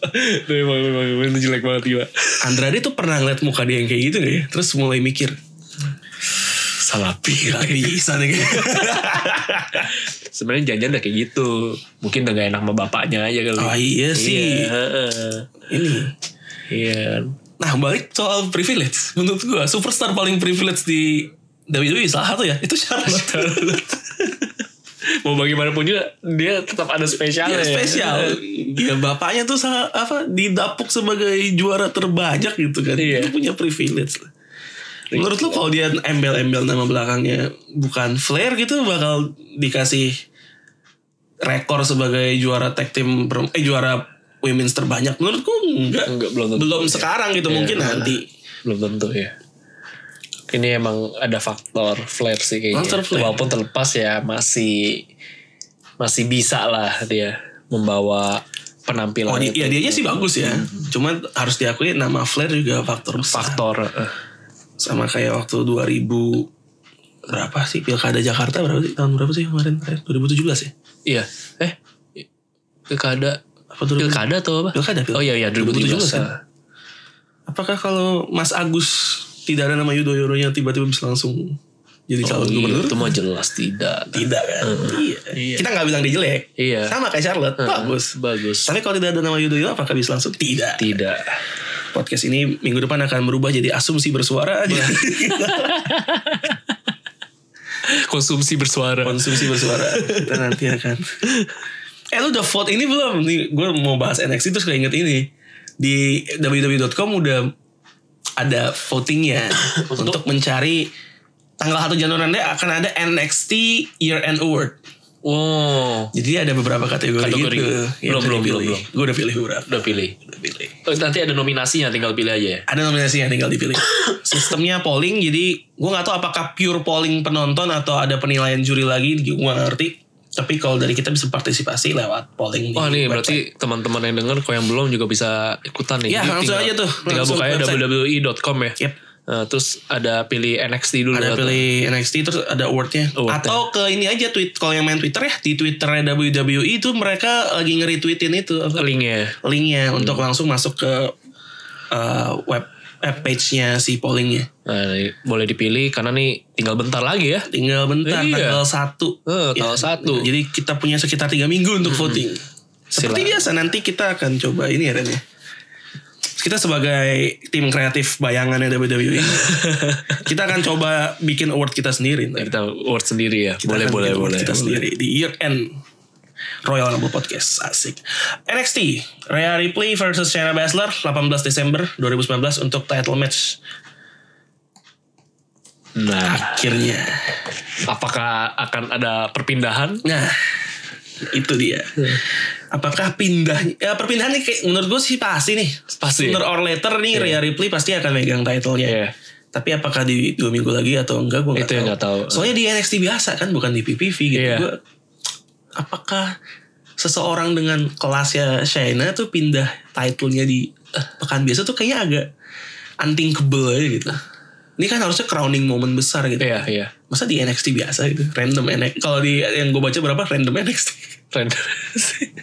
[SPEAKER 2] Itu emang, emang, emang, itu jelek banget gila
[SPEAKER 1] Andrade tuh pernah ngeliat muka dia yang kayak gitu deh. Terus mulai mikir,
[SPEAKER 2] Salah
[SPEAKER 1] gak bisa nih.
[SPEAKER 2] Sebenarnya janjian udah kayak gitu Mungkin udah gak enak sama bapaknya aja kali
[SPEAKER 1] oh iya sih.
[SPEAKER 2] Iya heeh.
[SPEAKER 1] Ini.
[SPEAKER 2] Iya
[SPEAKER 1] Nah balik soal privilege. Menurut gua superstar paling privilege di WWE salah satu ya. Itu Charlotte.
[SPEAKER 2] Mau bagaimanapun juga Dia tetap ada spesialnya
[SPEAKER 1] Dia
[SPEAKER 2] ya.
[SPEAKER 1] spesial. Ya bapaknya tuh sa- apa didapuk sebagai juara terbanyak gitu kan.
[SPEAKER 2] Iya.
[SPEAKER 1] Dia punya privilege lah. Menurut lu kalau dia embel-embel nama belakangnya bukan Flair gitu bakal dikasih rekor sebagai juara tag team per- eh juara women's terbanyak. Menurutku enggak.
[SPEAKER 2] Enggak, Iya. belum tentu.
[SPEAKER 1] Belum sekarang gitu mungkin nanti.
[SPEAKER 2] Belum tentu ya ini emang ada faktor flare sih kayaknya.
[SPEAKER 1] Faktor flare.
[SPEAKER 2] Walaupun terlepas ya masih masih bisa lah dia membawa penampilan
[SPEAKER 1] Oh, di, ya
[SPEAKER 2] itu.
[SPEAKER 1] dianya sih bagus ya. Cuman harus diakui nama Flair juga faktor besar.
[SPEAKER 2] faktor eh,
[SPEAKER 1] sama kayak waktu 2000 berapa sih pilkada Jakarta berapa sih tahun berapa sih kemarin terakhir 2017 ya
[SPEAKER 2] iya eh pilkada
[SPEAKER 1] apa 2000?
[SPEAKER 2] pilkada atau apa
[SPEAKER 1] Pilkada, pilkada.
[SPEAKER 2] oh iya iya 2017
[SPEAKER 1] 2017 kan? apakah kalau Mas Agus tidak ada nama Yudho Yoronya tiba-tiba bisa langsung jadi
[SPEAKER 2] Oh,
[SPEAKER 1] calon
[SPEAKER 2] iya,
[SPEAKER 1] gubernur
[SPEAKER 2] itu mah jelas tidak
[SPEAKER 1] tidak kan iya.
[SPEAKER 2] Iya.
[SPEAKER 1] kita nggak bilang dia jelek
[SPEAKER 2] Iya.
[SPEAKER 1] sama kayak Charlotte bagus
[SPEAKER 2] bagus
[SPEAKER 1] tapi kalau tidak ada nama Yudho Yoro apakah bisa langsung tidak
[SPEAKER 2] tidak
[SPEAKER 1] podcast ini minggu depan akan berubah jadi asumsi bersuara aja
[SPEAKER 2] Iya. konsumsi bersuara
[SPEAKER 1] konsumsi bersuara kita nanti akan eh lu udah vote ini belum nih gue mau bahas NXT terus keinget ini di www.com udah ada votingnya untuk mencari tanggal 1 Januari nanti akan ada NXT Year End Award
[SPEAKER 2] wow
[SPEAKER 1] jadi ada beberapa kategori,
[SPEAKER 2] Kategori.
[SPEAKER 1] gitu
[SPEAKER 2] Belum, belum, belum, belum.
[SPEAKER 1] gue udah pilih beberapa
[SPEAKER 2] udah pilih
[SPEAKER 1] udah pilih
[SPEAKER 2] Oh, nanti ada nominasinya tinggal pilih aja ya
[SPEAKER 1] ada nominasi yang tinggal dipilih sistemnya polling jadi gue nggak tahu apakah pure polling penonton atau ada penilaian juri lagi gue nggak ngerti Tapi kalau dari kita bisa partisipasi lewat polling
[SPEAKER 2] Wah
[SPEAKER 1] di website.
[SPEAKER 2] nih berarti teman-teman yang dengar kalau yang belum juga bisa ikutan nih.
[SPEAKER 1] Ya,
[SPEAKER 2] Jadi
[SPEAKER 1] langsung
[SPEAKER 2] tinggal-
[SPEAKER 1] aja tuh,
[SPEAKER 2] Tinggal
[SPEAKER 1] langsung
[SPEAKER 2] bukanya
[SPEAKER 1] website.
[SPEAKER 2] www.com ya.
[SPEAKER 1] Yep.
[SPEAKER 2] Nah, terus ada pilih NXT dulu. eh,
[SPEAKER 1] Ada
[SPEAKER 2] atau-
[SPEAKER 1] pilih NXT terus ada awardnya.
[SPEAKER 2] Award-nya.
[SPEAKER 1] Atau ke ini aja tweet kalau yang main Twitter ya di Twitternya WWE itu mereka lagi nge-retweetin itu apa,
[SPEAKER 2] linknya.
[SPEAKER 1] linknya
[SPEAKER 2] Hmm.
[SPEAKER 1] untuk langsung masuk ke eh, web web page-nya si pollingnya.
[SPEAKER 2] Nah, ini boleh dipilih karena nih tinggal bentar lagi ya.
[SPEAKER 1] Tinggal bentar
[SPEAKER 2] Iya.
[SPEAKER 1] tanggal 1
[SPEAKER 2] Eh, tanggal satu. Hmm.
[SPEAKER 1] Jadi kita punya sekitar tiga minggu untuk voting. Seperti
[SPEAKER 2] Silakan.
[SPEAKER 1] biasa nanti kita akan coba ini ya Ren ya. Kita sebagai tim kreatif bayangannya WWE, E, kita akan coba bikin award kita sendiri. Ren.
[SPEAKER 2] Kita award sendiri ya.
[SPEAKER 1] Kita
[SPEAKER 2] boleh
[SPEAKER 1] akan
[SPEAKER 2] boleh
[SPEAKER 1] bikin
[SPEAKER 2] boleh.
[SPEAKER 1] award Kita sendiri di year end Royal Rumble Podcast asik. NXT Rhea Ripley versus Shayna Baszler 18 Desember 2019 untuk title match
[SPEAKER 2] Nah,
[SPEAKER 1] akhirnya.
[SPEAKER 2] apakah akan ada perpindahan?
[SPEAKER 1] Nah, itu dia.
[SPEAKER 2] Hmm.
[SPEAKER 1] Apakah pindah ya perpindahan nih kayak menurut gue sih pasti nih.
[SPEAKER 2] Pasti.
[SPEAKER 1] Sooner or later nih Rhea Ripley pasti akan megang title-nya. ya.
[SPEAKER 2] Iya.
[SPEAKER 1] Tapi apakah di dua minggu lagi atau enggak gue nggak
[SPEAKER 2] Itu yang nggak tahu.
[SPEAKER 1] Soalnya di NXT biasa kan bukan di PPV gitu.
[SPEAKER 2] Iya.
[SPEAKER 1] Gua, apakah seseorang dengan kelasnya Shayna tuh pindah title-nya di eh, pekan biasa tuh kayaknya agak unthinkable aja gitu. Ini kan harusnya crowning moment besar gitu.
[SPEAKER 2] Iya, iya.
[SPEAKER 1] Masa di NXT biasa gitu? Random NXT. Kalau di yang gue baca berapa random NXT.
[SPEAKER 2] Random sih.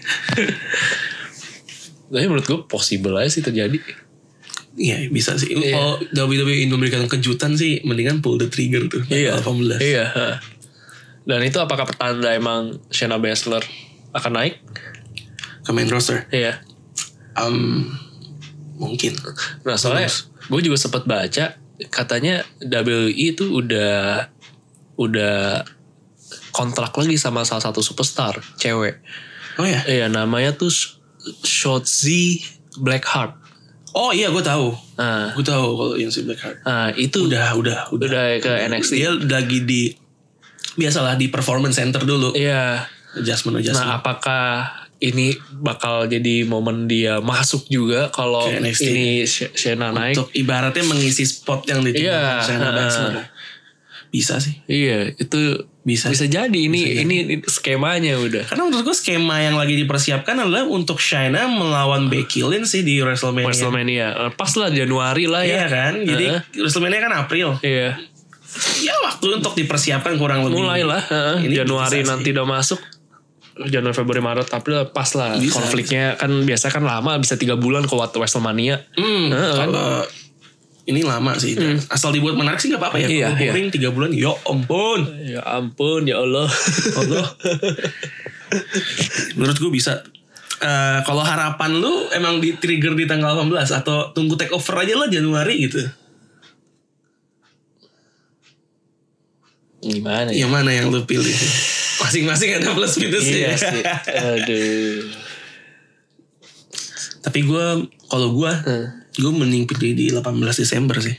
[SPEAKER 2] Tapi menurut gue possible aja sih terjadi.
[SPEAKER 1] Iya bisa sih.
[SPEAKER 2] Iya.
[SPEAKER 1] Kalau WWE ingin memberikan kejutan sih mendingan pull the trigger tuh.
[SPEAKER 2] Iya.
[SPEAKER 1] 18.
[SPEAKER 2] Iya. ha. Dan itu apakah pertanda emang Shayna Baszler akan naik?
[SPEAKER 1] Ke main roster.
[SPEAKER 2] Iya.
[SPEAKER 1] Um, mungkin.
[SPEAKER 2] Nah soalnya gue juga sempat baca katanya WWE itu udah udah kontrak lagi sama salah satu superstar cewek.
[SPEAKER 1] Oh ya.
[SPEAKER 2] Iya namanya tuh Sh- Shotzi Blackheart.
[SPEAKER 1] Oh iya gue tahu.
[SPEAKER 2] Nah,
[SPEAKER 1] Gue tahu kalau yang si Blackheart.
[SPEAKER 2] nah, itu udah,
[SPEAKER 1] Udah udah udah.
[SPEAKER 2] ke NXT.
[SPEAKER 1] Dia lagi di biasalah di performance center dulu.
[SPEAKER 2] Iya.
[SPEAKER 1] Adjustment
[SPEAKER 2] Nah
[SPEAKER 1] adjustment.
[SPEAKER 2] apakah ini bakal jadi momen dia masuk juga kalau
[SPEAKER 1] Ke NXT.
[SPEAKER 2] ini Sh- Shayna naik?
[SPEAKER 1] Untuk ibaratnya mengisi spot yang ditinggalkan
[SPEAKER 2] Iya,
[SPEAKER 1] Shayna
[SPEAKER 2] heeh.
[SPEAKER 1] Baszler. Bisa sih.
[SPEAKER 2] Iya itu
[SPEAKER 1] Bisa.
[SPEAKER 2] bisa jadi ini ini ini skemanya udah.
[SPEAKER 1] Karena menurut gue skema yang lagi dipersiapkan adalah untuk Shayna melawan Becky Lynch sih di WrestleMania.
[SPEAKER 2] WrestleMania. Pas lah Januari lah
[SPEAKER 1] Iya
[SPEAKER 2] ya.
[SPEAKER 1] kan? Jadi
[SPEAKER 2] Heeh.
[SPEAKER 1] WrestleMania kan April.
[SPEAKER 2] Iya.
[SPEAKER 1] Ya waktu untuk dipersiapkan kurang lebih.
[SPEAKER 2] Mulailah heeh.
[SPEAKER 1] Ini
[SPEAKER 2] Januari
[SPEAKER 1] bisa sih.
[SPEAKER 2] nanti udah masuk. Januari, Februari, Maret, April pas lah
[SPEAKER 1] Bisa,
[SPEAKER 2] konfliknya kan biasa kan lama bisa tiga bulan ke waktu WrestleMania.
[SPEAKER 1] Hmm,
[SPEAKER 2] Heeh, kan?
[SPEAKER 1] kalau ini lama sih. Asal dibuat menarik sih nggak apa-apa ya.
[SPEAKER 2] Iya,
[SPEAKER 1] Kalau
[SPEAKER 2] iya.
[SPEAKER 1] boring tiga bulan, yo ampun.
[SPEAKER 2] Ya ampun ya Allah.
[SPEAKER 1] Allah. Menurut gue bisa. Eh, kalau harapan lu emang di trigger di tanggal 18 atau tunggu take over aja lah Januari gitu.
[SPEAKER 2] Gimana ya?
[SPEAKER 1] Yang mana yang lu pilih? Masing-masing ada plus ya. minusnya.
[SPEAKER 2] Iya sih. Aduh.
[SPEAKER 1] Tapi gue kalau gue
[SPEAKER 2] Hmm.
[SPEAKER 1] gue mending pilih di 18 Desember sih.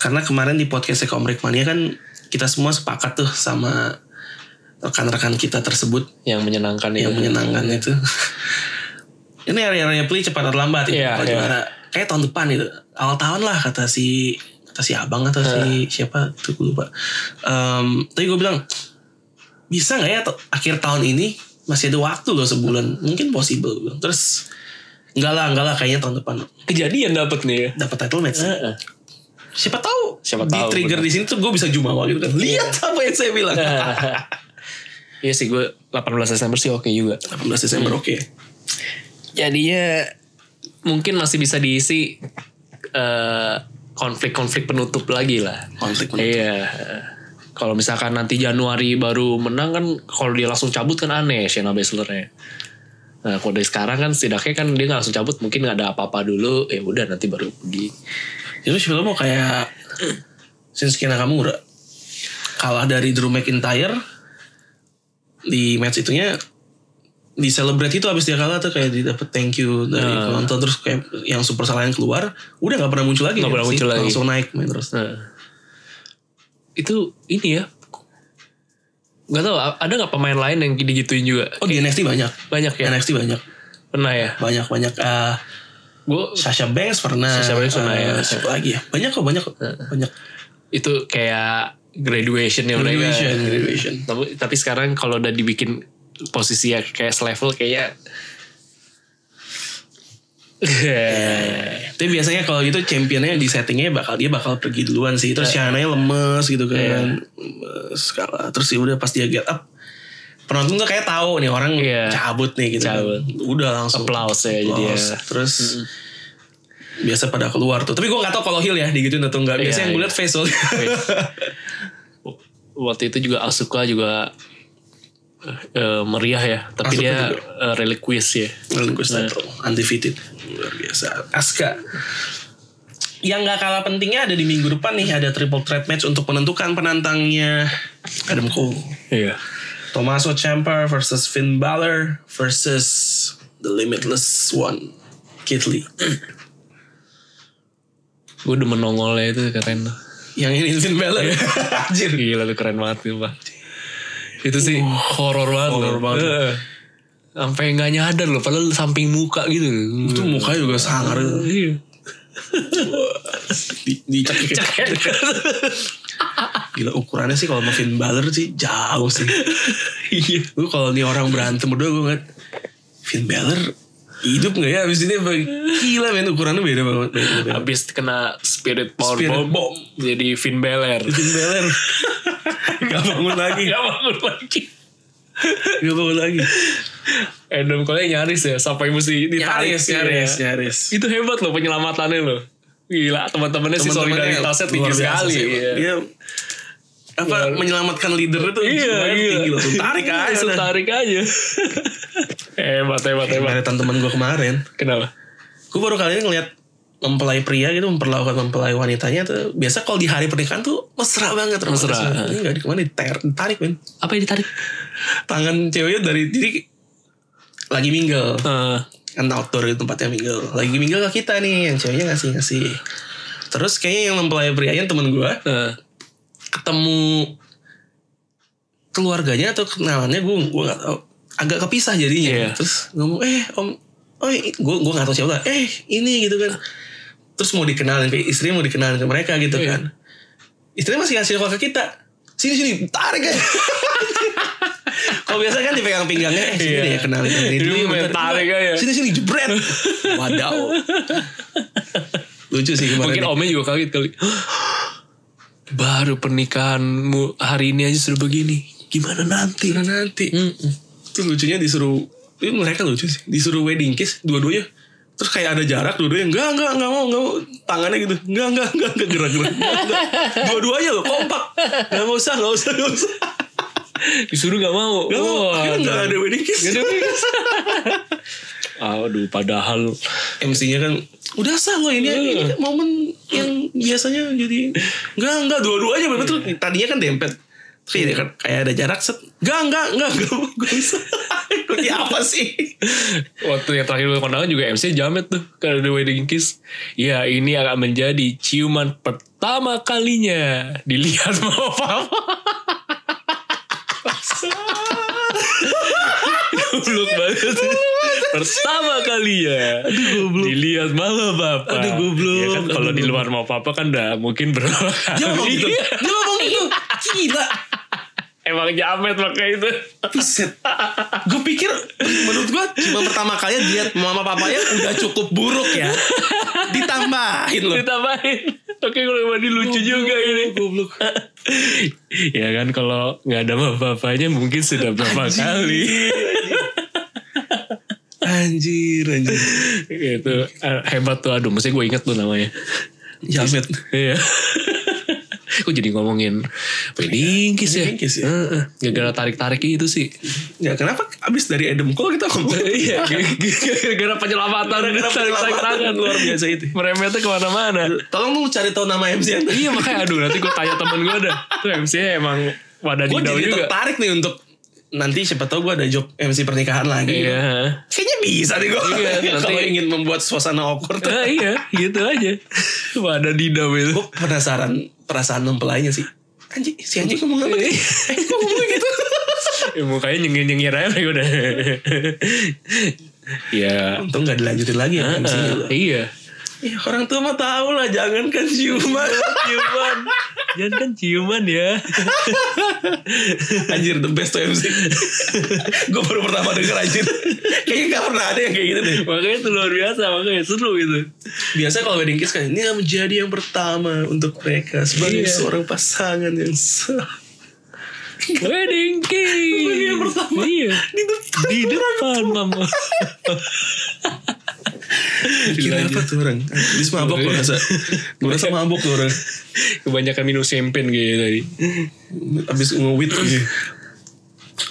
[SPEAKER 1] Karena kemarin di podcast Komrek Mania kan kita semua sepakat tuh sama rekan-rekan kita tersebut
[SPEAKER 2] Yang menyenangkan
[SPEAKER 1] yang
[SPEAKER 2] itu.
[SPEAKER 1] Iya, menyenangkan itu. Ini area-area play cepat atau lambat itu
[SPEAKER 2] Iya,
[SPEAKER 1] bakal
[SPEAKER 2] iya.
[SPEAKER 1] juara. Kayak tahun depan itu. Awal tahun lah kata si kata si abang atau
[SPEAKER 2] Iya.
[SPEAKER 1] si siapa tuh gue lupa. Em, tapi gue bilang bisa nggak ya to- akhir tahun ini masih ada waktu loh sebulan mungkin possible gue bilang. terus enggak lah enggak lah kayaknya tahun depan
[SPEAKER 2] Kejadian dapat nih ya.
[SPEAKER 1] dapat title match
[SPEAKER 2] Heeh.
[SPEAKER 1] siapa tahu
[SPEAKER 2] Siapa
[SPEAKER 1] di
[SPEAKER 2] tahu,
[SPEAKER 1] trigger
[SPEAKER 2] bener.
[SPEAKER 1] di sini tuh gue bisa jumawa gitu kan lihat apa yang saya bilang
[SPEAKER 2] Iya sih gue 18 Desember sih oke juga.
[SPEAKER 1] 18 Desember oke
[SPEAKER 2] jadinya mungkin masih bisa diisi eh, konflik-konflik penutup lagi lah.
[SPEAKER 1] konflik menurut
[SPEAKER 2] Iya. Kalau misalkan nanti Januari baru menang kan kalau dia langsung cabut kan aneh Shayna Baszler-nya. Nah, kalau dari sekarang kan setidaknya kan dia nggak langsung cabut mungkin nggak ada apa-apa dulu ya udah nanti baru pergi.
[SPEAKER 1] Itu sebenarnya mau kayak Shinsuke Nakamura kalah dari Drew McIntyre di match itunya di celebrate itu abis dia kalah tuh kayak didapet thank you dari
[SPEAKER 2] Ah.
[SPEAKER 1] penonton terus kayak yang super lain keluar udah nggak pernah muncul lagi kan
[SPEAKER 2] Nggak pernah
[SPEAKER 1] sih.
[SPEAKER 2] muncul lagi.
[SPEAKER 1] langsung naik main terus
[SPEAKER 2] Nah, itu ini ya nggak tahu ada nggak pemain lain yang digituin juga
[SPEAKER 1] oh di NXT banyak
[SPEAKER 2] banyak ya
[SPEAKER 1] NXT banyak
[SPEAKER 2] pernah ya
[SPEAKER 1] banyak banyak Ah,
[SPEAKER 2] gue
[SPEAKER 1] Sasha Banks pernah
[SPEAKER 2] Sasha Banks pernah,
[SPEAKER 1] Ah,
[SPEAKER 2] ya.
[SPEAKER 1] siapa lagi ya banyak kok banyak kok banyak
[SPEAKER 2] itu kayak graduation ya mereka.
[SPEAKER 1] Graduation, graduation.
[SPEAKER 2] Tapi, tapi sekarang kalau udah dibikin posisi ya kayak selevel kayaknya
[SPEAKER 1] Tapi biasanya kalau gitu championnya di settingnya bakal dia bakal pergi duluan sih.
[SPEAKER 2] Eh.
[SPEAKER 1] Terus Shahnanya lemes gitu
[SPEAKER 2] Iya.
[SPEAKER 1] kan. Lemes kalah. Terus ya udah pas dia get up penonton tuh kayak tahu nih orang
[SPEAKER 2] Iya.
[SPEAKER 1] cabut nih gitu. kan.
[SPEAKER 2] Cabut.
[SPEAKER 1] Udah langsung
[SPEAKER 2] applause ya jadi ya.
[SPEAKER 1] applause. Terus biasa pada keluar tuh. Tapi gue gak tahu kalau heel ya digituin atau enggak. Biasanya
[SPEAKER 2] Iya,
[SPEAKER 1] yang gue
[SPEAKER 2] iya.
[SPEAKER 1] liat face soalnya.
[SPEAKER 2] waktu itu juga Asuka juga eh, meriah ya
[SPEAKER 1] Asuka
[SPEAKER 2] tapi dia
[SPEAKER 1] juga.
[SPEAKER 2] eh, reliquious ya
[SPEAKER 1] Lalu gue settle.
[SPEAKER 2] Nah.
[SPEAKER 1] Undefeated. Luar biasa. Aska. Yang gak kalah pentingnya ada di minggu depan nih. Ada triple threat match untuk menentukan penantangnya Adam Cole.
[SPEAKER 2] iya
[SPEAKER 1] Tommaso Ciampa versus Finn Balor versus The Limitless One, Keith Lee.
[SPEAKER 2] gue udah menongolnya itu keren
[SPEAKER 1] Yang ini Finn Balor. Anjir.
[SPEAKER 2] gila tuh keren banget sih pak itu sih horor banget
[SPEAKER 1] horor
[SPEAKER 2] loh.
[SPEAKER 1] banget.
[SPEAKER 2] Eh. sampai nggak nyadar loh padahal samping muka gitu
[SPEAKER 1] Itu mukanya juga sangar.
[SPEAKER 2] Iya.
[SPEAKER 1] Di, dicekik.
[SPEAKER 2] Iya.
[SPEAKER 1] Gila ukurannya sih kalau sama Finn Balor sih jauh sih.
[SPEAKER 2] iya
[SPEAKER 1] Gue kalau nih orang berantem berdua gue ngeliat Finn Balor hidup gak ya abis ini apa? Gila men ukurannya beda banget. Beda, beda.
[SPEAKER 2] habis kena spirit power
[SPEAKER 1] Spirit
[SPEAKER 2] bomb,
[SPEAKER 1] bomb.
[SPEAKER 2] jadi Finn Balor
[SPEAKER 1] Finn Balor. gak bangun lagi.
[SPEAKER 2] Gak bangun lagi
[SPEAKER 1] Gak bangun lagi.
[SPEAKER 2] Adam Cole nyaris ya sampai mesti ditarik
[SPEAKER 1] Nyaris,
[SPEAKER 2] Iya.
[SPEAKER 1] nyaris, nyaris.
[SPEAKER 2] itu hebat loh penyelamatannya loh gila teman-temannya sih
[SPEAKER 1] Teman-temannya
[SPEAKER 2] solidaritasnya tinggi
[SPEAKER 1] luar biasa
[SPEAKER 2] sekali
[SPEAKER 1] sih.
[SPEAKER 2] iya
[SPEAKER 1] Dia apa menyelamatkan leader itu
[SPEAKER 2] iya,
[SPEAKER 1] sebenarnya
[SPEAKER 2] iya.
[SPEAKER 1] tinggi loh. Tuh, Tarik
[SPEAKER 2] Iya,
[SPEAKER 1] aja.
[SPEAKER 2] langsung
[SPEAKER 1] udah.
[SPEAKER 2] tarik aja hebat hebat hebat
[SPEAKER 1] Kemarin teman gue kemarin,
[SPEAKER 2] kenapa
[SPEAKER 1] gue baru kali ini ngeliat mempelai pria gitu memperlakukan mempelai wanitanya tuh biasa kalau di hari pernikahan tuh mesra banget romantis
[SPEAKER 2] Mesra.
[SPEAKER 1] banget. ini nggak di kemana ditarik, ditarik men
[SPEAKER 2] apa yang ditarik
[SPEAKER 1] tangan ceweknya dari jadi lagi mingle
[SPEAKER 2] Eh,
[SPEAKER 1] kan outdoor gitu tempatnya mingle lagi mingle ke kita nih yang ceweknya ngasih ngasih terus kayaknya yang mempelai prianya temen gue
[SPEAKER 2] eh,
[SPEAKER 1] ketemu keluarganya atau kenalannya gue gue nggak tahu agak kepisah jadinya
[SPEAKER 2] Iya.
[SPEAKER 1] terus ngomong eh om oh gue gue nggak tahu siapa lah eh ini gitu kan terus mau dikenalin ke istri mau dikenalin ke mereka gitu
[SPEAKER 2] Iya.
[SPEAKER 1] kan istrinya masih ngasih call ke kita sini sini tarik aja kalau biasa kan dipegang pinggangnya eh, sini
[SPEAKER 2] Iya.
[SPEAKER 1] deh ya kenalin ini
[SPEAKER 2] Ini
[SPEAKER 1] dulu
[SPEAKER 2] main
[SPEAKER 1] bentar.
[SPEAKER 2] tarik aja.
[SPEAKER 1] sini sini jebret wadaw lucu sih kemarin
[SPEAKER 2] mungkin omnya juga kaget kali baru pernikahanmu hari ini aja sudah begini gimana nanti
[SPEAKER 1] Nah, nanti
[SPEAKER 2] Hmm,
[SPEAKER 1] Terus lucunya disuruh itu mereka lucu sih disuruh wedding kiss dua-duanya terus kayak ada jarak dua-duanya enggak enggak enggak mau enggak mau tangannya gitu enggak enggak enggak enggak gerak gerak Enggak, enggak. dua-duanya loh kompak enggak mau usah enggak usah enggak usah
[SPEAKER 2] disuruh nggak mau
[SPEAKER 1] enggak mau
[SPEAKER 2] Wah,
[SPEAKER 1] akhirnya Oh, enggak ada wedding kiss
[SPEAKER 2] aduh padahal
[SPEAKER 1] MC-nya kan udah sah loh ini, ini momen yang biasanya jadi enggak enggak dua-duanya bener tuh tadinya kan dempet Terus kayak, kan, kayak ada jarak set enggak enggak enggak enggak mau enggak usah Ini apa sih
[SPEAKER 2] Waktu yang terakhir gue kondangan juga MC jamet tuh Karena The Wedding Kiss Ya ini akan menjadi ciuman pertama kalinya Dilihat sama papa Goblok banget Pertama kalinya Dilihat mama papa
[SPEAKER 1] Aduh, goblok.
[SPEAKER 2] ya kan, Kalau di luar mama papa kan udah mungkin berulang
[SPEAKER 1] Dia ngomong
[SPEAKER 2] kali
[SPEAKER 1] gitu. Dia ngomong gitu. Gila.
[SPEAKER 2] Emang jamet pakai itu
[SPEAKER 1] Piset. Gue pikir menurut gue cuma pertama kali lihat mama papanya udah cukup buruk ya. Ditambahin loh.
[SPEAKER 2] Ditambahin Oke kalau mandi lucu juga ini
[SPEAKER 1] Goblok.
[SPEAKER 2] ya kan kalau nggak ada bapaknya mungkin sudah berapa kali
[SPEAKER 1] Anjir, anjir.
[SPEAKER 2] gitu Eh, hebat tuh aduh mesti gue inget tuh namanya
[SPEAKER 1] Jamet.
[SPEAKER 2] iya Kok jadi ngomongin wedding kiss ya?
[SPEAKER 1] Wedding kiss ya?
[SPEAKER 2] Heeh. Gara-gara tarik-tarik itu sih.
[SPEAKER 1] Ya kenapa abis dari Adam Cole kita ngomong
[SPEAKER 2] Iya, gara-gara penyelamatan.
[SPEAKER 1] Ya. Gara-gara
[SPEAKER 2] tarik-tarik tangan.
[SPEAKER 1] penyelamatan luar biasa itu.
[SPEAKER 2] Meremetnya kemana-mana.
[SPEAKER 1] Tolong lu cari tahu nama MC yang tadi.
[SPEAKER 2] iya makanya aduh nanti gue tanya temen gue dah. Tuh MC emang wadah
[SPEAKER 1] Gue
[SPEAKER 2] didau
[SPEAKER 1] jadi
[SPEAKER 2] juga.
[SPEAKER 1] tertarik nih untuk nanti siapa tahu gue ada job MC pernikahan lagi.
[SPEAKER 2] Iya.
[SPEAKER 1] Kayaknya bisa nih gue.
[SPEAKER 2] Iya, nanti-
[SPEAKER 1] Kalau ingin membuat suasana awkward.
[SPEAKER 2] Nah, iya, gitu aja. Wadah didau itu.
[SPEAKER 1] gue penasaran perasaan mempelainya sih anjing si anjing ngomong apa sih eh kok ngomong gitu
[SPEAKER 2] ya, mukanya nyengir-nyengir aja mereka udah. ya.
[SPEAKER 1] untung gak dilanjutin lagi
[SPEAKER 2] Kan
[SPEAKER 1] ya MC-nya
[SPEAKER 2] eh, iya.
[SPEAKER 1] ya, orang tua mah tau lah jangan kan ciuman
[SPEAKER 2] Cuman Jangan kan ciuman ya.
[SPEAKER 1] Anjir the best tuh MC Gue baru pertama denger anjir Kayaknya gak pernah ada yang kayak gitu deh
[SPEAKER 2] makanya itu luar biasa, makanya seru gitu.
[SPEAKER 1] Biasanya kalau wedding kiss kan Ini akan menjadi yang pertama untuk mereka Sebagai
[SPEAKER 2] Iya.
[SPEAKER 1] seorang pasangan yang sah
[SPEAKER 2] Wedding kiss.
[SPEAKER 1] Wedding yang pertama.
[SPEAKER 2] Iya.
[SPEAKER 1] Di depan
[SPEAKER 2] Di depan mama.
[SPEAKER 1] Gila apa tuh orang Abis mabok gue rasa Gue rasa mabok tuh orang
[SPEAKER 2] Kebanyakan minum champagne kayaknya tadi.
[SPEAKER 1] Abis nge-weed gitu.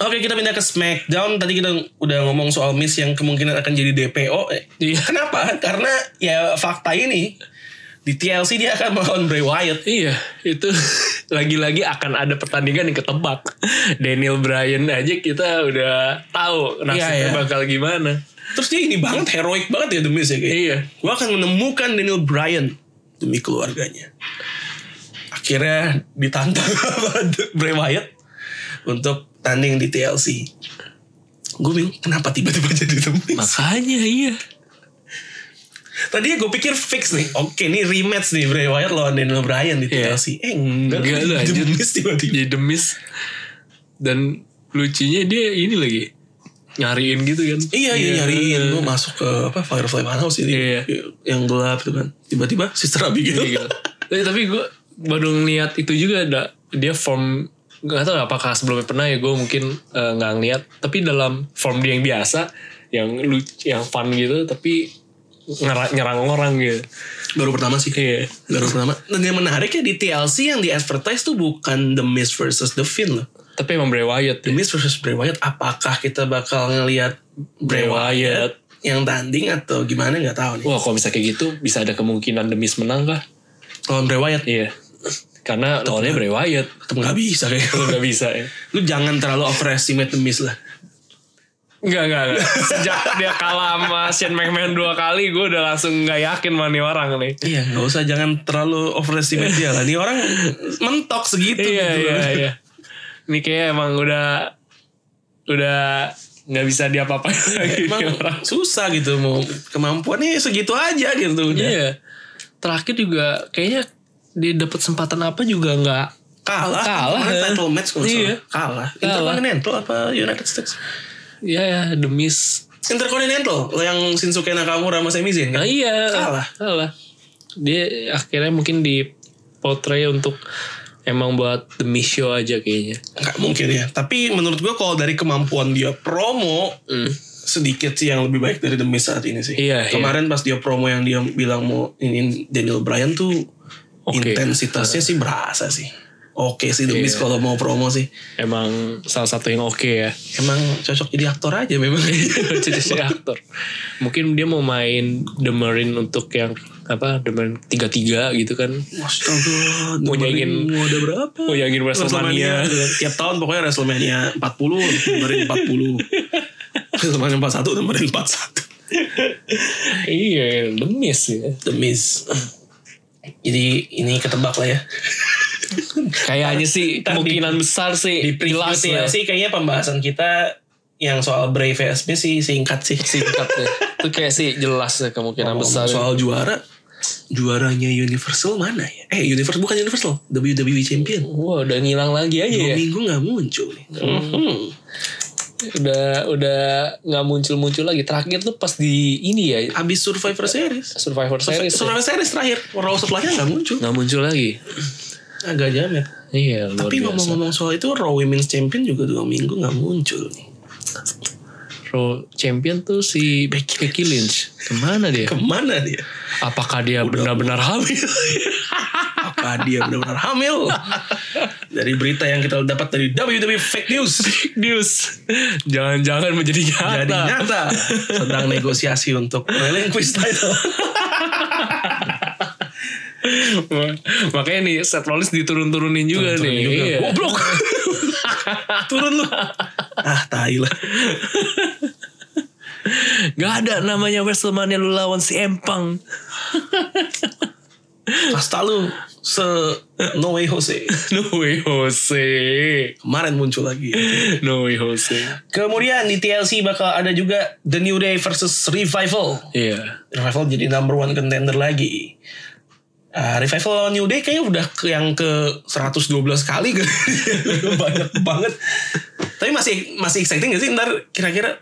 [SPEAKER 1] Oke kita pindah ke Smackdown Tadi kita udah ngomong soal Miss yang kemungkinan akan jadi DPO Eh,
[SPEAKER 2] Iya.
[SPEAKER 1] Kenapa? Karena ya fakta ini Di TLC dia akan melawan Bray Wyatt
[SPEAKER 2] Iya, itu lagi-lagi akan ada pertandingan yang ketebak. Daniel Bryan aja kita udah tahu nasibnya
[SPEAKER 1] Iya, iya.
[SPEAKER 2] bakal gimana.
[SPEAKER 1] Terus dia ini banget heroik banget ya The Miz ya kayak.
[SPEAKER 2] Iya.
[SPEAKER 1] Gue akan menemukan Daniel Bryan demi keluarganya. Akhirnya ditantang sama Bray Wyatt untuk tanding di TLC. Gue bingung kenapa tiba-tiba jadi The Miz.
[SPEAKER 2] Makanya iya.
[SPEAKER 1] Tadinya gue pikir fix nih. Oke ini rematch nih Bray Wyatt lawan Daniel Bryan di
[SPEAKER 2] Iya.
[SPEAKER 1] TLC. Eh enggak.
[SPEAKER 2] Enggak lah,
[SPEAKER 1] The
[SPEAKER 2] anjir.
[SPEAKER 1] Miz tiba-tiba.
[SPEAKER 2] Jadi demis dan lucunya dia ini lagi nyariin gitu kan.
[SPEAKER 1] Iya, iya, nyariin. Gue masuk ke apa, Firefly Funhouse ini.
[SPEAKER 2] Iya.
[SPEAKER 1] Yang gelap gitu kan. Tiba-tiba Sister Abigail.
[SPEAKER 2] Iya, gitu. Eh, tapi gue baru ngeliat itu juga ada dia form nggak tahu apakah sebelumnya pernah ya gue mungkin eh, nggak ngeliat tapi dalam form dia yang biasa yang lucu yang fun gitu tapi ngera- nyerang orang gitu
[SPEAKER 1] Baru pertama sih.
[SPEAKER 2] iya
[SPEAKER 1] Baru pertama. Dan yang menariknya di TLC yang di advertise tuh bukan The Miz versus The Finn loh.
[SPEAKER 2] tapi emang Bray Wyatt
[SPEAKER 1] The
[SPEAKER 2] ya.
[SPEAKER 1] Miz versus Bray Wyatt. Apakah kita bakal ngelihat Bray
[SPEAKER 2] Bray Wyatt.
[SPEAKER 1] Wyatt yang tanding atau gimana nggak tahu nih.
[SPEAKER 2] wah kalau bisa kayak gitu bisa ada kemungkinan demis menang kah
[SPEAKER 1] Lawan Bray Wyatt
[SPEAKER 2] iya karena lawannya Bray Wyatt
[SPEAKER 1] tetap nggak bisa kayak.
[SPEAKER 2] Lu nggak bisa ya
[SPEAKER 1] Lu jangan terlalu overestimate The Miz lah.
[SPEAKER 2] Enggak, enggak, enggak. Sejak dia kalah sama Shane McMahon dua kali, gue udah langsung nggak yakin sama nih orang nih.
[SPEAKER 1] Iya, nggak usah jangan terlalu overestimate dia lah. Ini orang mentok segitu
[SPEAKER 2] iya,
[SPEAKER 1] gitu.
[SPEAKER 2] iya,
[SPEAKER 1] loh.
[SPEAKER 2] iya. Ini kayak emang udah udah nggak bisa diapa-apain lagi
[SPEAKER 1] Emang
[SPEAKER 2] nih orang.
[SPEAKER 1] susah gitu mau kemampuannya segitu aja gitu udah.
[SPEAKER 2] Iya. Terakhir juga kayaknya dia dapat kesempatan apa juga nggak
[SPEAKER 1] Kalah,
[SPEAKER 2] Kalah,
[SPEAKER 1] Kemarin
[SPEAKER 2] ya.
[SPEAKER 1] title match kalau nggak
[SPEAKER 2] Iya.
[SPEAKER 1] salah. Kalah.
[SPEAKER 2] Kalah.
[SPEAKER 1] Intercontinental apa United States?
[SPEAKER 2] ya ya demis.
[SPEAKER 1] Intercontinental yang Shinsuke Nakamura sama Sami Zayn kan?
[SPEAKER 2] Nah, iya.
[SPEAKER 1] Kalah.
[SPEAKER 2] Kalah. Dia akhirnya mungkin di portray untuk emang buat demi show aja kayaknya.
[SPEAKER 1] Nggak mungkin ya. Tapi menurut gua kalau dari kemampuan dia promo
[SPEAKER 2] Hmm.
[SPEAKER 1] sedikit sih yang lebih baik dari The Miz saat ini sih.
[SPEAKER 2] Iya,
[SPEAKER 1] Kemarin pas dia promo yang dia bilang mau ingin Daniel Bryan tuh
[SPEAKER 2] Oke. Iya.
[SPEAKER 1] intensitasnya sih berasa sih. Oke sih The Miz kalau mau promo sih.
[SPEAKER 2] Emang salah satu yang oke ya.
[SPEAKER 1] Emang cocok jadi aktor aja memang.
[SPEAKER 2] jadi si aktor. Mungkin dia mau main The Marine untuk yang apa The Marine 33 gitu kan.
[SPEAKER 1] Astaga,
[SPEAKER 2] Mau
[SPEAKER 1] dengerin
[SPEAKER 2] nyanyiin-
[SPEAKER 1] mau ada berapa?
[SPEAKER 2] mau nyanyiin Oh iya, WrestleMania.
[SPEAKER 1] Tiap tahun pokoknya WrestleMania 40, dengerin 40. WrestleMania 41, dengerin 41.
[SPEAKER 2] iya, lemis ya.
[SPEAKER 1] The Miz. Jadi ini ketebak lah ya.
[SPEAKER 2] Kayaknya sih kemungkinan besar sih ya.
[SPEAKER 1] Di preview
[SPEAKER 2] Pilas lah.
[SPEAKER 1] TLC kayaknya pembahasan kita yang soal Brave vs Miz sih singkat sih.
[SPEAKER 2] singkat ya. Itu kayak sih jelas ya kemungkinan besar.
[SPEAKER 1] Oh, Soal juara, juaranya Universal mana ya? Eh Universal bukan Universal, WWE Champion.
[SPEAKER 2] Wah, udah ngilang lagi aja
[SPEAKER 1] Dua
[SPEAKER 2] ya.
[SPEAKER 1] minggu nggak muncul nih. Mhm.
[SPEAKER 2] Udah udah nggak muncul-muncul lagi. Terakhir tuh pas di ini ya
[SPEAKER 1] Abis Survivor Series.
[SPEAKER 2] Survivor Series. ya.
[SPEAKER 1] Survivor Series terakhir, Raw setelahnya nggak muncul.
[SPEAKER 2] Nggak muncul lagi.
[SPEAKER 1] Agak jamet.
[SPEAKER 2] Iya, luar
[SPEAKER 1] Tapi
[SPEAKER 2] biasa.
[SPEAKER 1] ngomong-ngomong soal itu, Raw Women's Champion juga dua minggu nggak muncul nih.
[SPEAKER 2] Raw champion tuh si Becky, Lynch. Kemana dia?
[SPEAKER 1] Kemana dia?
[SPEAKER 2] Apakah dia benar-benar hamil?
[SPEAKER 1] apa dia benar-benar hamil dari berita yang kita dapat dari WWE Fake News
[SPEAKER 2] News. Jangan-jangan menjadi nyata.
[SPEAKER 1] jadi nyata sedang negosiasi untuk relinquish title
[SPEAKER 2] Makanya nih set Rollins diturun-turunin juga nih.
[SPEAKER 1] juga.
[SPEAKER 2] Iya.
[SPEAKER 1] goblok turun lu ah tai lah
[SPEAKER 2] Gak ada namanya WrestleMania lu lawan si Empang.
[SPEAKER 1] hasta lu se No Way Jose
[SPEAKER 2] No way Jose.
[SPEAKER 1] kemarin muncul lagi
[SPEAKER 2] No way Jose.
[SPEAKER 1] kemudian di TLC bakal ada juga The New Day versus Revival
[SPEAKER 2] Iya.
[SPEAKER 1] Revival jadi number one contender lagi Ah, revival lawan New Day kayaknya udah ke yang ke 112 kali kan. Banyak banget. Tapi masih masih exciting gak sih ntar kira-kira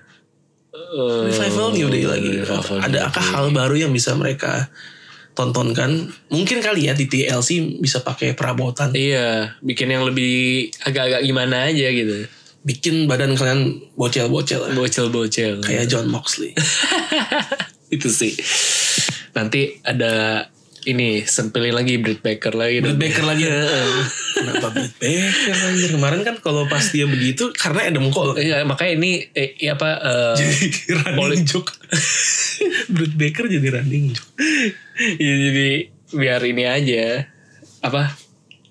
[SPEAKER 2] Eh,
[SPEAKER 1] revival New Day lagi.
[SPEAKER 2] Iya, Revival New
[SPEAKER 1] Adakah
[SPEAKER 2] Day.
[SPEAKER 1] hal baru yang bisa mereka tontonkan? Mungkin kali ya di TLC bisa pakai perabotan.
[SPEAKER 2] Iya, bikin yang lebih agak-agak gimana aja gitu.
[SPEAKER 1] Bikin badan kalian bocel-bocel.
[SPEAKER 2] Bocel-bocel.
[SPEAKER 1] Kayak John Moxley.
[SPEAKER 2] itu sih. Nanti ada ini sempilin lagi Britt Baker lagi.
[SPEAKER 1] Britt Baker lagi.
[SPEAKER 2] Iya.
[SPEAKER 1] Kenapa Britt Baker anjir? Kemarin kan kalau pas dia begitu karena Adam Cole.
[SPEAKER 2] Iya, makanya ini eh, iya apa eh,
[SPEAKER 1] Jadi running joke. Britt Baker jadi running joke.
[SPEAKER 2] ya, jadi biar ini aja apa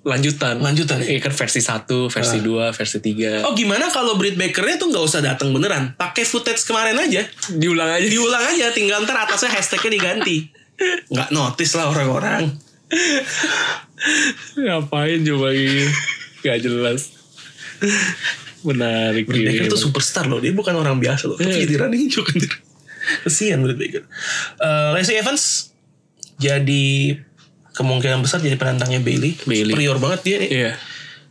[SPEAKER 2] lanjutan.
[SPEAKER 1] Lanjutan ya?
[SPEAKER 2] Iya kan versi 1, versi 2, versi 3.
[SPEAKER 1] Oh gimana kalau Britt Bakernya tuh nggak usah datang beneran. Pakai footage kemarin aja.
[SPEAKER 2] Diulang aja.
[SPEAKER 1] Diulang aja tinggal ntar atasnya hashtagnya diganti. Nggak notice lah orang-orang.
[SPEAKER 2] Ngapain coba gini? Gak jelas. Menarik
[SPEAKER 1] Britt
[SPEAKER 2] ini.
[SPEAKER 1] Baker tuh superstar loh. Dia bukan orang biasa loh. Tapi
[SPEAKER 2] Iya.
[SPEAKER 1] jadi running joke anjir. kan. Kesian Britt Baker. Eh, Lacey Evans jadi kemungkinan besar jadi penantangnya Bailey.
[SPEAKER 2] Bayley.
[SPEAKER 1] Superior banget dia nih.
[SPEAKER 2] Iya.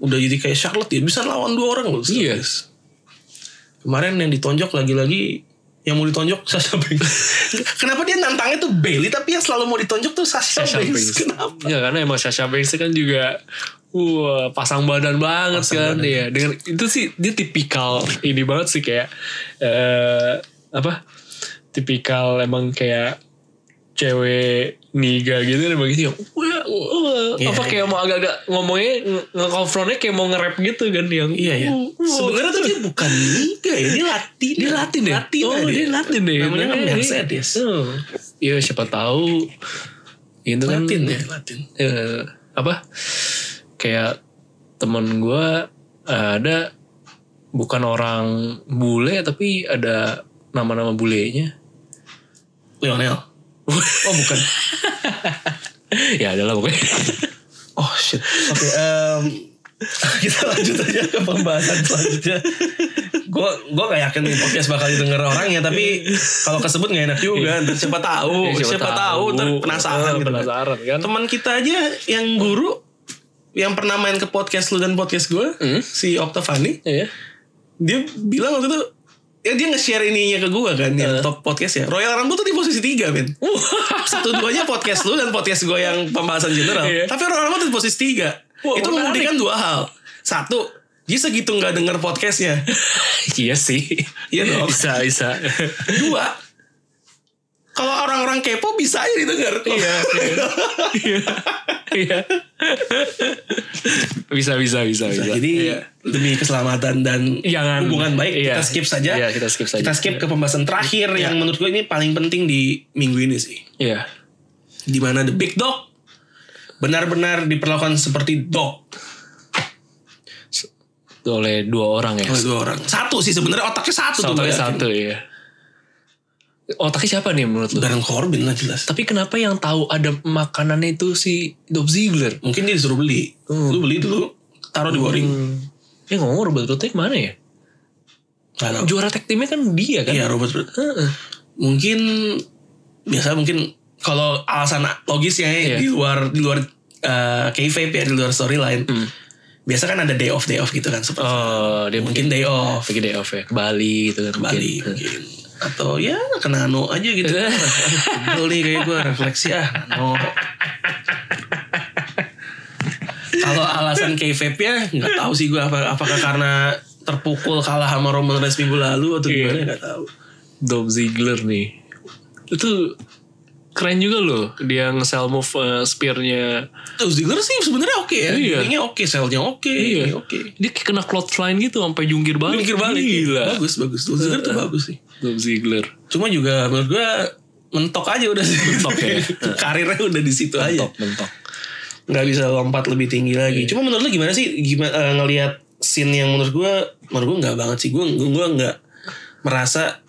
[SPEAKER 1] udah jadi kayak Charlotte dia bisa lawan dua orang loh
[SPEAKER 2] Iya.
[SPEAKER 1] Yes. kemarin yang ditonjok lagi-lagi yang mau ditonjok Sasha Banks kenapa dia nantangnya tuh Bailey tapi yang selalu mau ditonjok tuh Sasha,
[SPEAKER 2] Sasha
[SPEAKER 1] Banks.
[SPEAKER 2] Banks.
[SPEAKER 1] kenapa
[SPEAKER 2] Ya karena emang Sasha Banks kan juga wah pasang badan banget
[SPEAKER 1] Pasang
[SPEAKER 2] kan
[SPEAKER 1] badan.
[SPEAKER 2] ya. Dengan itu sih dia tipikal ini banget sih kayak eh apa? Tipikal emang kayak cewek niga gitu dan begitu yang wah, wah,
[SPEAKER 1] Iya,
[SPEAKER 2] apa
[SPEAKER 1] iya.
[SPEAKER 2] kayak mau agak-agak ngomongnya nge- ngekonfrontnya kayak mau nge-rap gitu kan yang
[SPEAKER 1] iya ya
[SPEAKER 2] wah, wah.
[SPEAKER 1] sebenarnya tuh dia bukan Liga ya dia Latin
[SPEAKER 2] hmm. dia Latin ya?
[SPEAKER 1] Latin
[SPEAKER 2] oh, dia Latin deh.
[SPEAKER 1] namanya kan
[SPEAKER 2] Iya, iya.
[SPEAKER 1] Mercedes
[SPEAKER 2] Oh. Iya, siapa tahu itu kan
[SPEAKER 1] Latin ya Latin
[SPEAKER 2] eh, apa kayak temen gue ada bukan orang bule tapi ada nama-nama bulenya
[SPEAKER 1] Lionel oh bukan
[SPEAKER 2] ya adalah pokoknya
[SPEAKER 1] oh shit oke em, kita lanjut aja ke pembahasan selanjutnya gue gue gak yakin nih podcast bakal didengar orangnya tapi kalau kesebut gak enak
[SPEAKER 2] Iya.
[SPEAKER 1] juga Ntar siapa tahu siapa, tahu, ntar penasaran
[SPEAKER 2] Eh,
[SPEAKER 1] gitu kan.
[SPEAKER 2] penasaran kan
[SPEAKER 1] teman kita aja yang guru yang pernah main ke podcast lu dan podcast gue
[SPEAKER 2] Hmm.
[SPEAKER 1] si Octavani
[SPEAKER 2] Iya.
[SPEAKER 1] dia bilang waktu itu ya dia nge-share ininya ke gue kan yang top podcast ya Royal Rumble tuh di posisi tiga men satu duanya podcast lu dan podcast gue yang pembahasan general
[SPEAKER 2] Iya.
[SPEAKER 1] tapi Royal Rumble tuh di posisi tiga
[SPEAKER 2] Wah,
[SPEAKER 1] itu
[SPEAKER 2] menarik.
[SPEAKER 1] membuktikan dua hal satu dia segitu nggak denger podcastnya
[SPEAKER 2] iya sih
[SPEAKER 1] Iya dong. Oh.
[SPEAKER 2] bisa bisa
[SPEAKER 1] dua kalau orang-orang kepo bisa aja didengar
[SPEAKER 2] iya iya iya bisa bisa bisa bisa
[SPEAKER 1] jadi
[SPEAKER 2] Iya.
[SPEAKER 1] demi keselamatan dan
[SPEAKER 2] Jangan.
[SPEAKER 1] hubungan baik kita
[SPEAKER 2] Iya.
[SPEAKER 1] skip saja
[SPEAKER 2] Iya, kita skip saja.
[SPEAKER 1] kita skip ke pembahasan terakhir yang menurut gue ini paling penting di minggu ini sih
[SPEAKER 2] iya
[SPEAKER 1] di mana the big dog benar-benar diperlakukan seperti dog
[SPEAKER 2] oleh dua orang ya
[SPEAKER 1] oleh dua orang. Satu sih sebenarnya otaknya satu tuh. gua
[SPEAKER 2] Satu
[SPEAKER 1] yakin.
[SPEAKER 2] satu ya. Otaknya siapa nih menurut lu?
[SPEAKER 1] Baron Corbin lah jelas.
[SPEAKER 2] Tapi kenapa yang tahu ada makanannya itu si Dolph Ziggler?
[SPEAKER 1] Mungkin dia disuruh beli. Lu beli dulu, taruh di boring.
[SPEAKER 2] Ya ngomong Robert Rotek mana ya?
[SPEAKER 1] Nggak tahu.
[SPEAKER 2] Juara tag teamnya kan dia kan?
[SPEAKER 1] Iya Robert. Roode.
[SPEAKER 2] Heeh.
[SPEAKER 1] Mungkin biasa mungkin kalau alasan logisnya ya, di
[SPEAKER 2] Iya.
[SPEAKER 1] luar di luar eh kayfabe ya di luar storyline. Biasa kan ada day off day off gitu kan seperti
[SPEAKER 2] Hmm. Oh, dia mungkin
[SPEAKER 1] mungkin day off
[SPEAKER 2] pergi day off ya ke Bali gitu kan?
[SPEAKER 1] Bali mungkin atau ya ke Nano aja gitu. Betul nih kayak gue refleksi ah Nano. Kalau alasan kayfabe ya nggak tahu sih gue apa, apakah karena terpukul kalah sama Roman Reigns minggu lalu atau
[SPEAKER 2] Iya.
[SPEAKER 1] gimana nggak tahu.
[SPEAKER 2] Dolph Ziggler nih. Itu keren juga loh dia nge-sell move eh, spear-nya.
[SPEAKER 1] Tuh Ziggler sih sebenarnya oke ya,
[SPEAKER 2] Iya.
[SPEAKER 1] ini oke, selnya oke,
[SPEAKER 2] Iya.
[SPEAKER 1] ini oke.
[SPEAKER 2] Dia kayak kena clothesline gitu sampai jungkir balik. iya.
[SPEAKER 1] Mikir balik, iya.
[SPEAKER 2] Gila.
[SPEAKER 1] bagus bagus. Tuh Ziggler tuh bagus sih.
[SPEAKER 2] Dolph Ziggler.
[SPEAKER 1] Cuma juga menurut gue mentok aja udah sih.
[SPEAKER 2] Mentok ya.
[SPEAKER 1] Karirnya udah di situ aja.
[SPEAKER 2] Mentok, mentok.
[SPEAKER 1] nggak bisa lompat lebih tinggi lagi. Cuma menurut lu gimana sih gimana eh, ngelihat scene yang menurut gua menurut gua nggak banget sih. Gua gua nggak merasa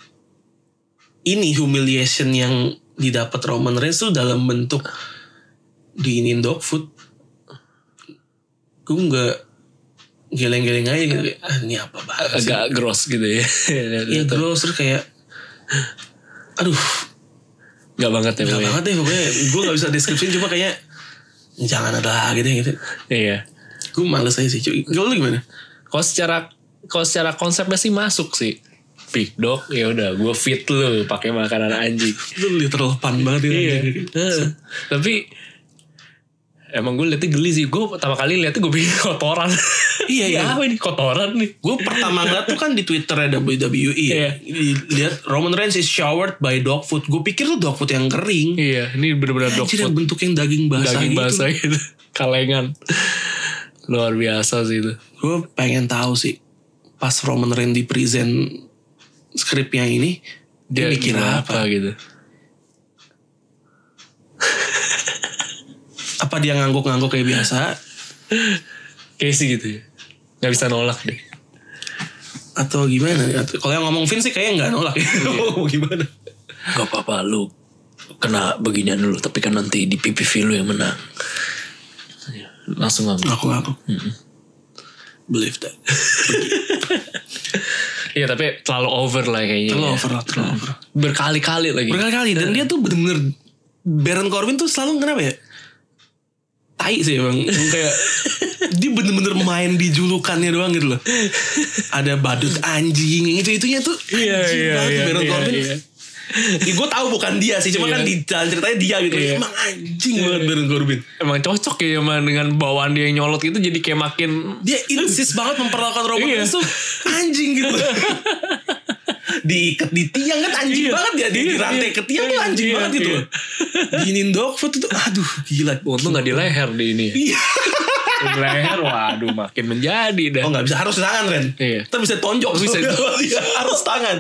[SPEAKER 1] ini humiliation yang didapat Roman Reigns tuh dalam bentuk diinin dog food. Gua nggak geleng-geleng aja gitu. kayak, Ah, ini apa banget sih?
[SPEAKER 2] agak gross gitu ya.
[SPEAKER 1] Ya gross terus kayak aduh
[SPEAKER 2] Gak banget
[SPEAKER 1] Gak
[SPEAKER 2] ya pokoknya. ya, Iya,
[SPEAKER 1] banget deh pokoknya Gue gak bisa deskripsiin Cuma kayaknya jangan ada lagi deh gitu
[SPEAKER 2] Iya.
[SPEAKER 1] gue males aja sih cuy kalau lu gimana
[SPEAKER 2] Kalau secara kalau secara konsepnya sih masuk sih. Big dog ya udah gue fit lu pakai makanan anjing.
[SPEAKER 1] lu literal pan banget ini
[SPEAKER 2] iya.
[SPEAKER 1] anjing.
[SPEAKER 2] Heeh. Tapi emang gue liatnya geli sih. Gue pertama kali liatnya gue bikin kotoran.
[SPEAKER 1] Iya, iya.
[SPEAKER 2] Apa ini kotoran nih?
[SPEAKER 1] Gue pertama ngeliat tuh kan di Twitternya WWE.
[SPEAKER 2] Iya.
[SPEAKER 1] Lihat Roman Reigns is showered by dog food. Gue pikir tuh dog food yang kering.
[SPEAKER 2] Iya, ini bener-bener dog
[SPEAKER 1] Anjir
[SPEAKER 2] food
[SPEAKER 1] yang bentuk yang daging basah
[SPEAKER 2] daging
[SPEAKER 1] gitu.
[SPEAKER 2] basah gitu. Kalengan. Luar biasa sih itu.
[SPEAKER 1] Gue pengen tahu sih pas Roman Reigns di present skripnya ini dia, mikir apa?
[SPEAKER 2] gitu.
[SPEAKER 1] Apa dia ngangguk-ngangguk kayak biasa
[SPEAKER 2] Kayak sih gitu ya. Gak bisa nolak deh.
[SPEAKER 1] atau gimana? Atau- Kalau yang ngomong Vince sih kayaknya nggak nolak ya. Mau gimana?
[SPEAKER 2] Gak apa-apa lu kena beginian dulu tapi kan nanti di PPV lu yang menang. Langsung ngambil.
[SPEAKER 1] Aku aku. Believe that.
[SPEAKER 2] Iya tapi terlalu over lah kayaknya.
[SPEAKER 1] Terlalu
[SPEAKER 2] ya.
[SPEAKER 1] over, lah, terlalu over.
[SPEAKER 2] Berkali-kali lagi.
[SPEAKER 1] berkali-kali dan
[SPEAKER 2] Iya.
[SPEAKER 1] dia tuh bener-bener Baron Corbin tuh selalu kenapa ya tai sih bang
[SPEAKER 2] iya,
[SPEAKER 1] kayak dia bener-bener main di julukannya doang gitu loh ada badut anjing itu itunya tuh
[SPEAKER 2] Iya
[SPEAKER 1] anjing
[SPEAKER 2] iya
[SPEAKER 1] banget
[SPEAKER 2] iya.
[SPEAKER 1] Baron
[SPEAKER 2] iya,
[SPEAKER 1] Corbin
[SPEAKER 2] iya.
[SPEAKER 1] gue tahu bukan dia sih cuma
[SPEAKER 2] Iya.
[SPEAKER 1] kan di dalam ceritanya dia gitu
[SPEAKER 2] Iya.
[SPEAKER 1] emang anjing banget Baron Corbin
[SPEAKER 2] Emang cocok ya sama dengan bawaan dia yang nyolot itu jadi kayak makin
[SPEAKER 1] dia insist banget memperlakukan Roman
[SPEAKER 2] Iya.
[SPEAKER 1] Reigns tuh anjing gitu diikat di tiang kan anjing
[SPEAKER 2] Iya.
[SPEAKER 1] banget dia di, di
[SPEAKER 2] Iya,
[SPEAKER 1] rantai
[SPEAKER 2] iya.
[SPEAKER 1] ke tiang tuh anjing
[SPEAKER 2] Iya,
[SPEAKER 1] banget gitu
[SPEAKER 2] iya.
[SPEAKER 1] loh diinin dog food itu aduh gila
[SPEAKER 2] Untung gak di leher di ini.
[SPEAKER 1] Iya.
[SPEAKER 2] di leher waduh makin menjadi dah.
[SPEAKER 1] oh nggak bisa harus tangan Ren
[SPEAKER 2] Iya.
[SPEAKER 1] kita bisa tonjok
[SPEAKER 2] Bisa
[SPEAKER 1] soalnya. Iya, harus tangan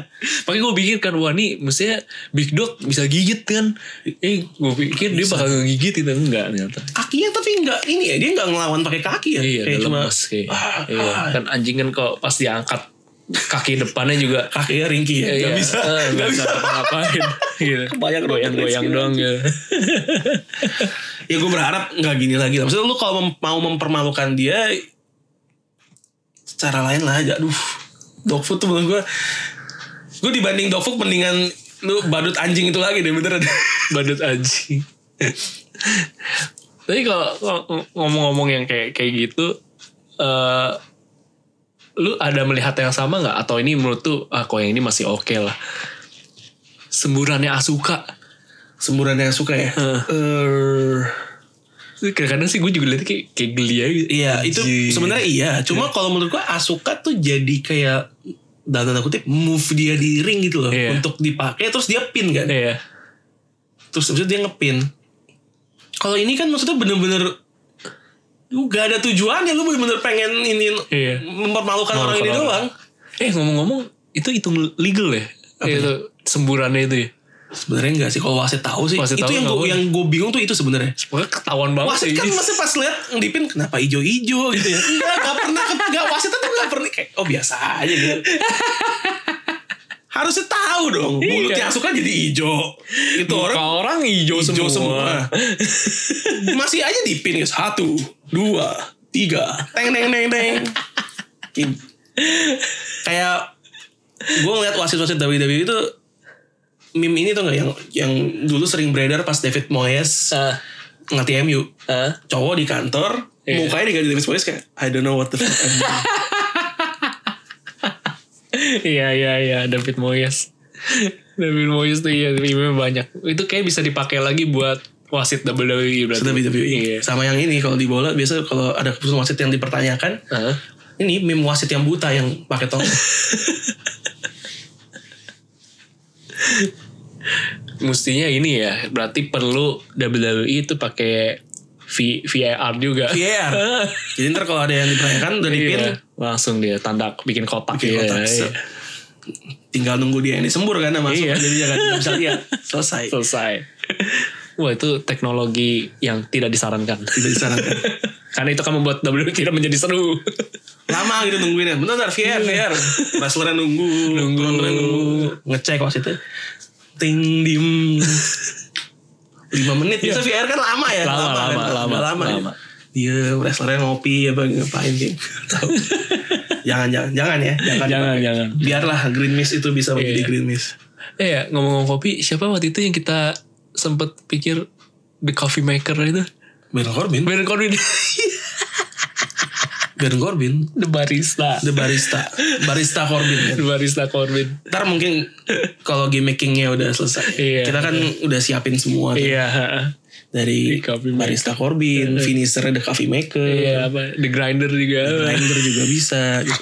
[SPEAKER 2] Makanya gue pikir kan wah nih mestinya Big Dog bisa gigit kan. Eh gue pikir dia bakal ngegigit itu enggak ternyata.
[SPEAKER 1] kakinya tapi nggak ini ya dia nggak ngelawan pakai kaki ya
[SPEAKER 2] Iya,
[SPEAKER 1] kayak
[SPEAKER 2] udah
[SPEAKER 1] cuma
[SPEAKER 2] lemas kayak.
[SPEAKER 1] Ah,
[SPEAKER 2] iya.
[SPEAKER 1] ah.
[SPEAKER 2] Kan anjing kan kalau pas diangkat kaki depannya juga
[SPEAKER 1] kakinya ringki ya nggak
[SPEAKER 2] iya,
[SPEAKER 1] bisa
[SPEAKER 2] eh,
[SPEAKER 1] nggak
[SPEAKER 2] nggak
[SPEAKER 1] bisa
[SPEAKER 2] bisa ngapain gitu.
[SPEAKER 1] Kebayang dong,
[SPEAKER 2] goyang-goyang
[SPEAKER 1] keren
[SPEAKER 2] doang gitu.
[SPEAKER 1] ya gue berharap nggak gini lagi lah maksudnya lu kalau mem- mau mempermalukan dia cara lain lah aja aduh dog food tuh menurut gue gue dibanding dog food mendingan lu badut anjing itu lagi deh beneran
[SPEAKER 2] Badut anjing. Tapi kalau ng- ngomong-ngomong yang kayak kayak gitu eh lu ada melihat yang sama nggak atau ini menurut tuh ah kok yang ini masih oke lah. Semburannya Asuka.
[SPEAKER 1] semburan yang suka ya
[SPEAKER 2] Heeh.
[SPEAKER 1] Eh,
[SPEAKER 2] Kadang-kadang sih gue juga liat kayak, kayak geli aja. gitu.
[SPEAKER 1] iya itu
[SPEAKER 2] Anjing.
[SPEAKER 1] sebenarnya iya cuma kalau menurut gue Asuka tuh jadi kayak dalam tanda kutip move dia di ring gitu loh
[SPEAKER 2] Iya.
[SPEAKER 1] untuk dipakai terus dia pin kan
[SPEAKER 2] Iya.
[SPEAKER 1] terus abis itu dia ngepin kalau ini kan maksudnya bener-bener lu gak ada tujuannya lu bener-bener pengen ini
[SPEAKER 2] Iya.
[SPEAKER 1] mempermalukan orang ini
[SPEAKER 2] Orang-orang.
[SPEAKER 1] doang
[SPEAKER 2] Eh ngomong-ngomong itu hitung legal ya? itu semburannya itu ya?
[SPEAKER 1] sebenarnya enggak sih kalau wasit tahu sih
[SPEAKER 2] Wasit
[SPEAKER 1] itu
[SPEAKER 2] tahu
[SPEAKER 1] yang
[SPEAKER 2] nggak
[SPEAKER 1] gue
[SPEAKER 2] boleh.
[SPEAKER 1] yang gue bingung tuh itu sebenarnya
[SPEAKER 2] Pokoknya ketahuan banget
[SPEAKER 1] wasit
[SPEAKER 2] sih
[SPEAKER 1] kan
[SPEAKER 2] ini.
[SPEAKER 1] masih pas lihat ngedipin kenapa ijo-ijo gitu ya enggak enggak pernah enggak wasit tuh enggak pernah kayak oh biasa aja gitu harusnya tahu dong
[SPEAKER 2] Iya.
[SPEAKER 1] mulutnya asuka jadi ijo itu orang
[SPEAKER 2] Muka orang hijau,
[SPEAKER 1] hijau
[SPEAKER 2] semua.
[SPEAKER 1] semua. Masih aja dipin ya satu, dua, tiga, teng teng teng teng. Kayak- Kayak gue ngeliat wasit-wasit WWE itu meme ini tuh nggak yang yang dulu sering beredar pas David Moyes
[SPEAKER 2] Ah,
[SPEAKER 1] ngerti MU
[SPEAKER 2] ah.
[SPEAKER 1] cowok di kantor
[SPEAKER 2] Iya.
[SPEAKER 1] mukanya diganti David Moyes kayak I don't know what the fuck I'm doing."
[SPEAKER 2] Iya iya iya David Moyes. David Moyes tuh iya meme banyak. Itu kayak bisa dipakai lagi buat wasit WWE berarti.
[SPEAKER 1] Wasit WWE
[SPEAKER 2] Iya.
[SPEAKER 1] sama yang ini kalau di bola biasa kalau ada keputusan wasit yang dipertanyakan
[SPEAKER 2] Ah.
[SPEAKER 1] ini meme wasit yang buta yang pakai tong
[SPEAKER 2] Mestinya ini ya, berarti perlu WWE itu pakai V- VAR juga.
[SPEAKER 1] VR. Iya. Jadi ntar kalau ada yang dipertanyakan udah dipin,
[SPEAKER 2] Iya, langsung dia tanda bikin kotak
[SPEAKER 1] bikin
[SPEAKER 2] Iya,
[SPEAKER 1] kotak.
[SPEAKER 2] iya.
[SPEAKER 1] Set. Tinggal nunggu dia ini sembur kan masuk.
[SPEAKER 2] Iya.
[SPEAKER 1] Jadi jangan nggak bisa lihat. Selesai.
[SPEAKER 2] selesai. Wah itu teknologi yang tidak disarankan.
[SPEAKER 1] Tidak disarankan.
[SPEAKER 2] Karena itu kan membuat WWE tidak menjadi seru.
[SPEAKER 1] Lama gitu nungguinnya. Bentar, bentar
[SPEAKER 2] Iya.
[SPEAKER 1] VR, VR. Wrestlernya nunggu. Nunggu. nunggu. Ngecek wasitnya. Ting dim. 5 menit. Bisa VR kan lama ya.
[SPEAKER 2] Iya. Lama,
[SPEAKER 1] kan?
[SPEAKER 2] lama, lama,
[SPEAKER 1] Udah lama.
[SPEAKER 2] lama.
[SPEAKER 1] Dia wrestlernya ngopi apa ngapain sih. Tahu. jangan, jangan, jangan ya. Jangan.
[SPEAKER 2] jangan jangan.
[SPEAKER 1] Biarlah green mist itu bisa menjadi
[SPEAKER 2] Iya.
[SPEAKER 1] green mist.
[SPEAKER 2] Eh ya, ngomong-ngomong kopi, siapa waktu itu yang kita sempet pikir the coffee maker itu?
[SPEAKER 1] Baron Corbin
[SPEAKER 2] Baron Corbin
[SPEAKER 1] Baron Corbin
[SPEAKER 2] The Barista
[SPEAKER 1] The Barista Barista Corbin ya.
[SPEAKER 2] The Barista Corbin
[SPEAKER 1] ntar mungkin kalau gimmickingnya udah selesai
[SPEAKER 2] Iya.
[SPEAKER 1] kita kan udah siapin semua tuh.
[SPEAKER 2] Iya
[SPEAKER 1] dari
[SPEAKER 2] Di coffee maker.
[SPEAKER 1] barista Corbin finisher the coffee maker
[SPEAKER 2] Iya apa The Grinder juga
[SPEAKER 1] grinder juga bisa gitu.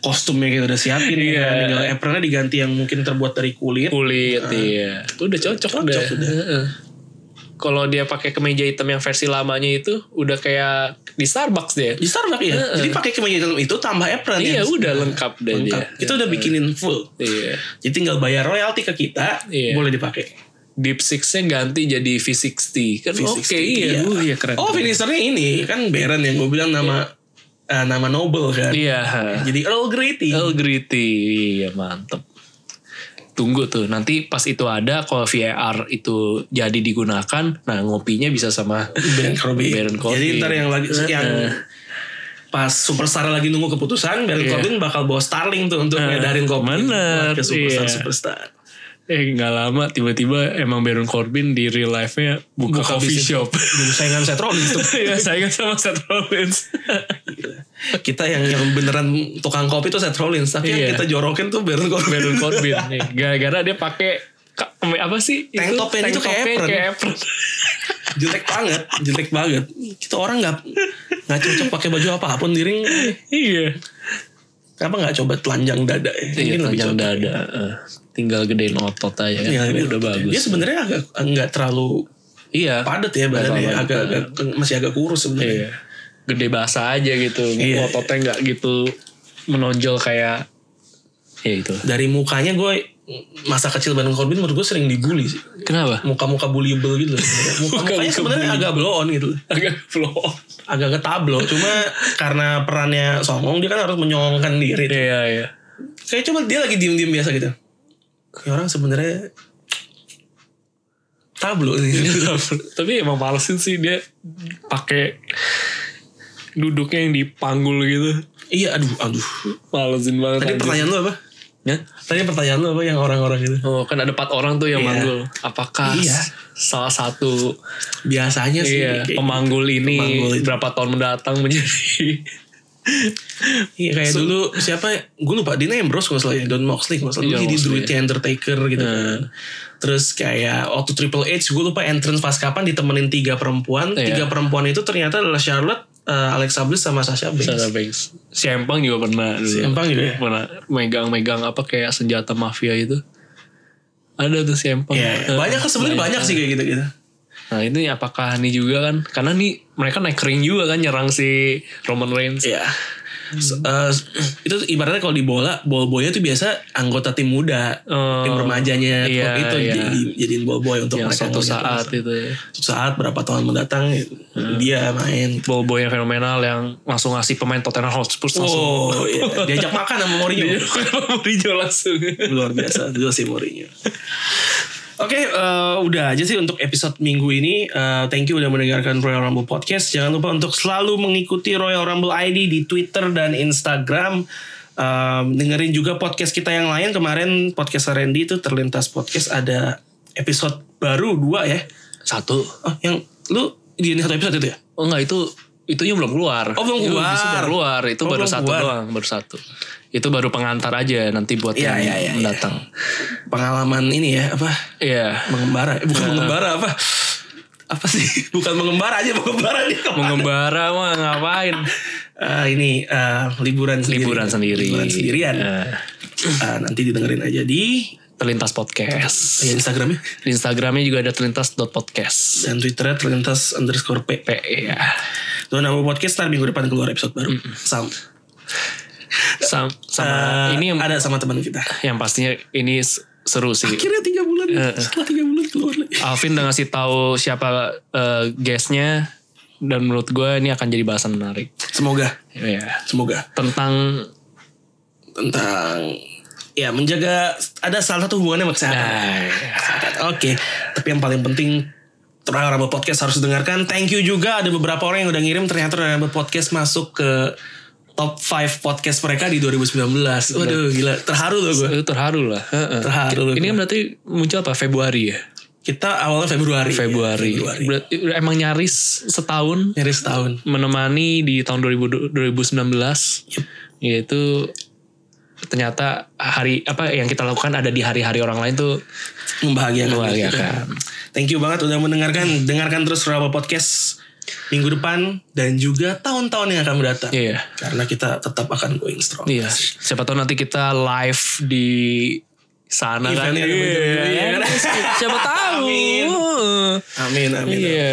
[SPEAKER 1] kostumnya kita udah siapin
[SPEAKER 2] Iya.
[SPEAKER 1] ya tinggal apronnya diganti yang mungkin terbuat dari kulit
[SPEAKER 2] Kulit iya Udah cocok,
[SPEAKER 1] Cocok
[SPEAKER 2] udah,
[SPEAKER 1] udah.
[SPEAKER 2] Heeh. Kalau dia pakai kemeja hitam yang versi lamanya itu Udah kayak di Starbucks dia
[SPEAKER 1] di Starbucks ya jadi pakai kemeja dalam itu tambah apron ya
[SPEAKER 2] Iya udah lengkap deh
[SPEAKER 1] Lengkap.
[SPEAKER 2] dia
[SPEAKER 1] itu udah bikinin full
[SPEAKER 2] Iya
[SPEAKER 1] jadi tinggal bayar royalti ke kita
[SPEAKER 2] Iya.
[SPEAKER 1] boleh dipakai
[SPEAKER 2] Deep Six-nya ganti jadi V60 kan oke
[SPEAKER 1] V60, iya.
[SPEAKER 2] iya, Uh, iya keren
[SPEAKER 1] oh finishernya ini kan Baron yang gue bilang nama eh, nama noble kan
[SPEAKER 2] iya
[SPEAKER 1] jadi Earl Grey tea.
[SPEAKER 2] El Griti iya mantep tunggu tuh nanti pas itu ada kalau VAR itu jadi digunakan nah ngopinya bisa sama
[SPEAKER 1] Baron Corbin.
[SPEAKER 2] Baron Corbin. Eh.
[SPEAKER 1] Jadi ntar ya. yang lagi
[SPEAKER 2] Heeh.
[SPEAKER 1] yang pas superstar lagi nunggu keputusan Baron
[SPEAKER 2] Iya. Eh,
[SPEAKER 1] Corbin bakal bawa Starling tuh untuk ngedarin Corbin
[SPEAKER 2] bener,
[SPEAKER 1] buat ke superstar
[SPEAKER 2] iya.
[SPEAKER 1] superstar.
[SPEAKER 2] eh nggak lama tiba-tiba emang Baron Corbin di real life-nya buka,
[SPEAKER 1] Buka
[SPEAKER 2] coffee
[SPEAKER 1] bisnis.
[SPEAKER 2] shop
[SPEAKER 1] Jadi saingan Seth Rollins tuh.
[SPEAKER 2] ya saingan sama Seth Rollins
[SPEAKER 1] Kita yang yang beneran tukang kopi tuh Seth Rollins, tapi yang
[SPEAKER 2] Iya.
[SPEAKER 1] kita jorokin tuh Baron Corbin.
[SPEAKER 2] Baron Corbin nih. gara-gara dia pakai ka- apa sih
[SPEAKER 1] Tank topnya itu kayak
[SPEAKER 2] topnya
[SPEAKER 1] apron.
[SPEAKER 2] kayak apron.
[SPEAKER 1] jelek banget, jelek banget. Kita orang nggak nggak cocok pakai baju apapun di ring.
[SPEAKER 2] iya
[SPEAKER 1] Kenapa nggak coba telanjang dada ya?
[SPEAKER 2] Iya,
[SPEAKER 1] Mungkin lebih
[SPEAKER 2] panjang
[SPEAKER 1] cocok.
[SPEAKER 2] dada. eh. Tinggal gedein otot aja kan.
[SPEAKER 1] Iya,
[SPEAKER 2] udah bagus.
[SPEAKER 1] Dia sebenarnya agak nggak terlalu
[SPEAKER 2] iya.
[SPEAKER 1] padat ya badannya,
[SPEAKER 2] terlalu
[SPEAKER 1] agak, agak- masih agak kurus sebenarnya.
[SPEAKER 2] Iya. Gede basah aja gitu.
[SPEAKER 1] Iya.
[SPEAKER 2] Ototnya nggak gitu menonjol kayak ya gitu.
[SPEAKER 1] dari mukanya gue masa kecil Baron Corbin menurut gue sering dibully sih
[SPEAKER 2] Kenapa?
[SPEAKER 1] muka-muka bullyable gitu loh sebenarnya. muka-mukanya
[SPEAKER 2] Muka-muka
[SPEAKER 1] sebenarnya agak blow on gitu loh.
[SPEAKER 2] Agak flow.
[SPEAKER 1] agak ketablo cuma karena perannya songong dia kan harus menyongkan diri
[SPEAKER 2] Iya, iya.
[SPEAKER 1] kayak cuma dia lagi diem-diem biasa gitu kayak orang sebenarnya tablo
[SPEAKER 2] Iya,
[SPEAKER 1] nih
[SPEAKER 2] Tapi emang malesin sih dia pakai duduknya yang dipanggul gitu.
[SPEAKER 1] iya aduh aduh
[SPEAKER 2] Malesin banget.
[SPEAKER 1] tadi
[SPEAKER 2] anjir.
[SPEAKER 1] pertanyaan lu apa
[SPEAKER 2] Ya?
[SPEAKER 1] tadi pertanyaan lu apa yang orang-orang gitu
[SPEAKER 2] Oh, kan ada empat orang tuh yang
[SPEAKER 1] Iya.
[SPEAKER 2] manggul. Apakah
[SPEAKER 1] Iya.
[SPEAKER 2] salah satu
[SPEAKER 1] biasanya sih
[SPEAKER 2] Iya,
[SPEAKER 1] kayak,
[SPEAKER 2] pemanggul ini
[SPEAKER 1] Pemanggul itu.
[SPEAKER 2] berapa tahun mendatang menjadi
[SPEAKER 1] iya, kayak dulu siapa gue lupa Dean Ambrose kalau nggak salah ya Don Moxley kalau nggak salah dulu
[SPEAKER 2] Iya,
[SPEAKER 1] jadi
[SPEAKER 2] Moxley.
[SPEAKER 1] druidnya Undertaker gitu kan terus kayak waktu Triple H gue lupa entrance pas kapan ditemenin tiga perempuan
[SPEAKER 2] Iya.
[SPEAKER 1] tiga perempuan itu ternyata adalah Charlotte eh, Alexa Bliss sama Sasha Banks
[SPEAKER 2] Sasha Banks. Si Empang juga pernah dulu.
[SPEAKER 1] Si Empang juga ya?
[SPEAKER 2] Pernah megang-megang apa kayak senjata mafia itu. Ada tuh si Empang.
[SPEAKER 1] Iya,
[SPEAKER 2] Eh,
[SPEAKER 1] banyak kan sebenarnya banyak sih kayak gitu gitu
[SPEAKER 2] Nah ini apakah ini juga kan? Karena nih mereka naik ring juga kan nyerang si Roman Reigns. Eh,
[SPEAKER 1] Iya. S-
[SPEAKER 2] Hmm.
[SPEAKER 1] eh, itu ibaratnya kalau di bola, ball boynya tuh biasa anggota tim muda,
[SPEAKER 2] Oh,
[SPEAKER 1] tim remajanya
[SPEAKER 2] iya,
[SPEAKER 1] klub itu
[SPEAKER 2] iya.
[SPEAKER 1] jadi- jadiin ball boy untuk
[SPEAKER 2] yang
[SPEAKER 1] mereka
[SPEAKER 2] suatu
[SPEAKER 1] ngeliat.
[SPEAKER 2] saat itu ya.
[SPEAKER 1] Suatu saat berapa tahun mendatang dia main
[SPEAKER 2] Ball boy yang fenomenal yang langsung ngasih pemain Tottenham Hotspur langsung.
[SPEAKER 1] Oh, iya. diajak makan sama Mourinho.
[SPEAKER 2] Mourinho langsung.
[SPEAKER 1] Luar biasa itu sih Mourinho. Oke, eh, udah aja sih untuk episode minggu ini. Eh, thank you udah mendengarkan Royal Rumble Podcast. Jangan lupa untuk selalu mengikuti Royal Rumble ID di Twitter dan Instagram. Eh, dengerin juga podcast kita yang lain. Kemarin podcast Randy itu terlintas podcast ada episode baru dua ya.
[SPEAKER 2] Satu.
[SPEAKER 1] Oh, yang lu di satu episode itu ya?
[SPEAKER 2] Oh enggak itu itu yang belum keluar.
[SPEAKER 1] Oh, belum
[SPEAKER 2] Itu
[SPEAKER 1] keluar.
[SPEAKER 2] justru baru keluar. Itu
[SPEAKER 1] Oh,
[SPEAKER 2] baru
[SPEAKER 1] belum
[SPEAKER 2] satu
[SPEAKER 1] keluar.
[SPEAKER 2] doang, baru satu. Itu baru pengantar aja nanti buat
[SPEAKER 1] Iya,
[SPEAKER 2] yang
[SPEAKER 1] iya, iya, iya.
[SPEAKER 2] mendatang.
[SPEAKER 1] Pengalaman ini ya apa?
[SPEAKER 2] Iya.
[SPEAKER 1] mengembara Eh, bukan mengembara apa apa sih bukan mengembara aja mengembara dia kemana?
[SPEAKER 2] Mengembara mah ngapain?
[SPEAKER 1] Eh, ini eh, liburan sendiri.
[SPEAKER 2] Liburan sendiri.
[SPEAKER 1] liburan iya. sendirian
[SPEAKER 2] Eh,
[SPEAKER 1] Eh, nanti didengerin aja di
[SPEAKER 2] terlintas podcast.
[SPEAKER 1] ya, Instagramnya
[SPEAKER 2] Di Instagramnya juga ada terlintas.podcast.
[SPEAKER 1] dan Twitternya terlintas underscore p
[SPEAKER 2] P ya.
[SPEAKER 1] Tuan nama podcast ntar minggu depan keluar episode baru Sam
[SPEAKER 2] Sam-
[SPEAKER 1] Eh,
[SPEAKER 2] sama Ah, ini yang,
[SPEAKER 1] ada sama teman kita
[SPEAKER 2] yang pastinya ini s- seru sih.
[SPEAKER 1] akhirnya tiga bulan
[SPEAKER 2] Eh,
[SPEAKER 1] setelah tiga bulan keluar lagi
[SPEAKER 2] Alvin udah ngasih tahu siapa eh, guestnya dan menurut gue ini akan jadi bahasan menarik.
[SPEAKER 1] semoga
[SPEAKER 2] Iya.
[SPEAKER 1] semoga
[SPEAKER 2] Tentang
[SPEAKER 1] tentang ya menjaga ada salah satu hubungannya sama kesehatan Ah.
[SPEAKER 2] eh,
[SPEAKER 1] Oke, tapi yang paling penting Royal Rumble Podcast harus dengarkan. Thank you juga ada beberapa orang yang udah ngirim ternyata Royal Rumble Podcast masuk ke top 5 podcast mereka di 2019. Waduh gila, terharu loh gue.
[SPEAKER 2] Itu terharu lah. Heeh.
[SPEAKER 1] Terharu loh.
[SPEAKER 2] Ini kan berarti muncul apa Februari ya?
[SPEAKER 1] Kita awalnya Februari.
[SPEAKER 2] Februari.
[SPEAKER 1] Ya, Februari.
[SPEAKER 2] Berarti emang nyaris setahun
[SPEAKER 1] Nyaris setahun.
[SPEAKER 2] menemani di tahun 2000, 2019
[SPEAKER 1] Yep.
[SPEAKER 2] yaitu ternyata hari apa yang kita lakukan ada di hari-hari orang lain tuh
[SPEAKER 1] Membahagiakan. kan?
[SPEAKER 2] membahagiakan.
[SPEAKER 1] Thank you banget udah mendengarkan. Dengarkan terus Rebel Podcast minggu depan dan juga tahun-tahun yang akan mendatang.
[SPEAKER 2] Iya.
[SPEAKER 1] Karena kita tetap akan going strong.
[SPEAKER 2] Iya. Siapa tahu nanti kita live di sana kan.
[SPEAKER 1] Eventnya ada bener-bener, iya kan?
[SPEAKER 2] Siapa tahu.
[SPEAKER 1] Amin. Amin, amin.
[SPEAKER 2] Iya.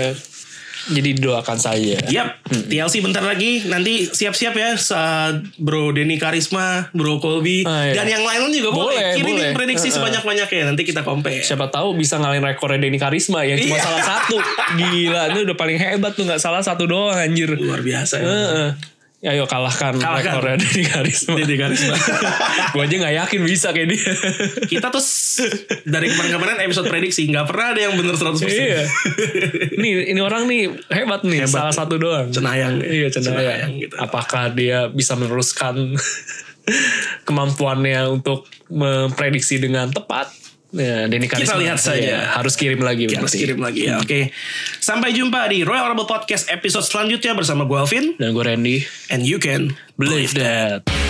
[SPEAKER 2] Jadi doakan saja.
[SPEAKER 1] Yap, TLC bentar lagi. Nanti siap-siap ya, saat Bro Denny Karisma, Bro Colby,
[SPEAKER 2] Ah, iya.
[SPEAKER 1] dan yang lain juga
[SPEAKER 2] Boleh,
[SPEAKER 1] boleh. Kirimin
[SPEAKER 2] boleh.
[SPEAKER 1] prediksi sebanyak-banyaknya. Nanti kita compare.
[SPEAKER 2] Siapa tahu bisa ngalahin rekornya Denny Karisma yang cuma
[SPEAKER 1] Iya.
[SPEAKER 2] salah satu. Gila, itu udah paling hebat tuh nggak salah satu doang anjir.
[SPEAKER 1] Luar biasa. ya.
[SPEAKER 2] Heeh. Ayo kalahkan,
[SPEAKER 1] Kalahkan.
[SPEAKER 2] rekornya Denny Karisma.
[SPEAKER 1] Denny Karisma.
[SPEAKER 2] Gue aja nggak yakin bisa kayak dia.
[SPEAKER 1] Kita tuh s- dari kemarin-kemarin episode prediksi nggak pernah ada yang bener 100%.
[SPEAKER 2] iya. Nih, ini orang nih hebat nih, salah satu doang.
[SPEAKER 1] Cenayang.
[SPEAKER 2] Iya
[SPEAKER 1] Cenayang,
[SPEAKER 2] cenayang.
[SPEAKER 1] gitu.
[SPEAKER 2] Apakah dia bisa meneruskan kemampuannya untuk memprediksi dengan tepat? Ya, Denny
[SPEAKER 1] Kita
[SPEAKER 2] Karisma.
[SPEAKER 1] lihat saja.
[SPEAKER 2] Iya, harus kirim lagi.
[SPEAKER 1] Kita harus
[SPEAKER 2] berarti.
[SPEAKER 1] kirim lagi ya. Oke. Sampai jumpa di Royal Rumble Podcast episode selanjutnya bersama gue Alvin
[SPEAKER 2] Dan gue Randy.
[SPEAKER 1] and you can
[SPEAKER 2] Believe that.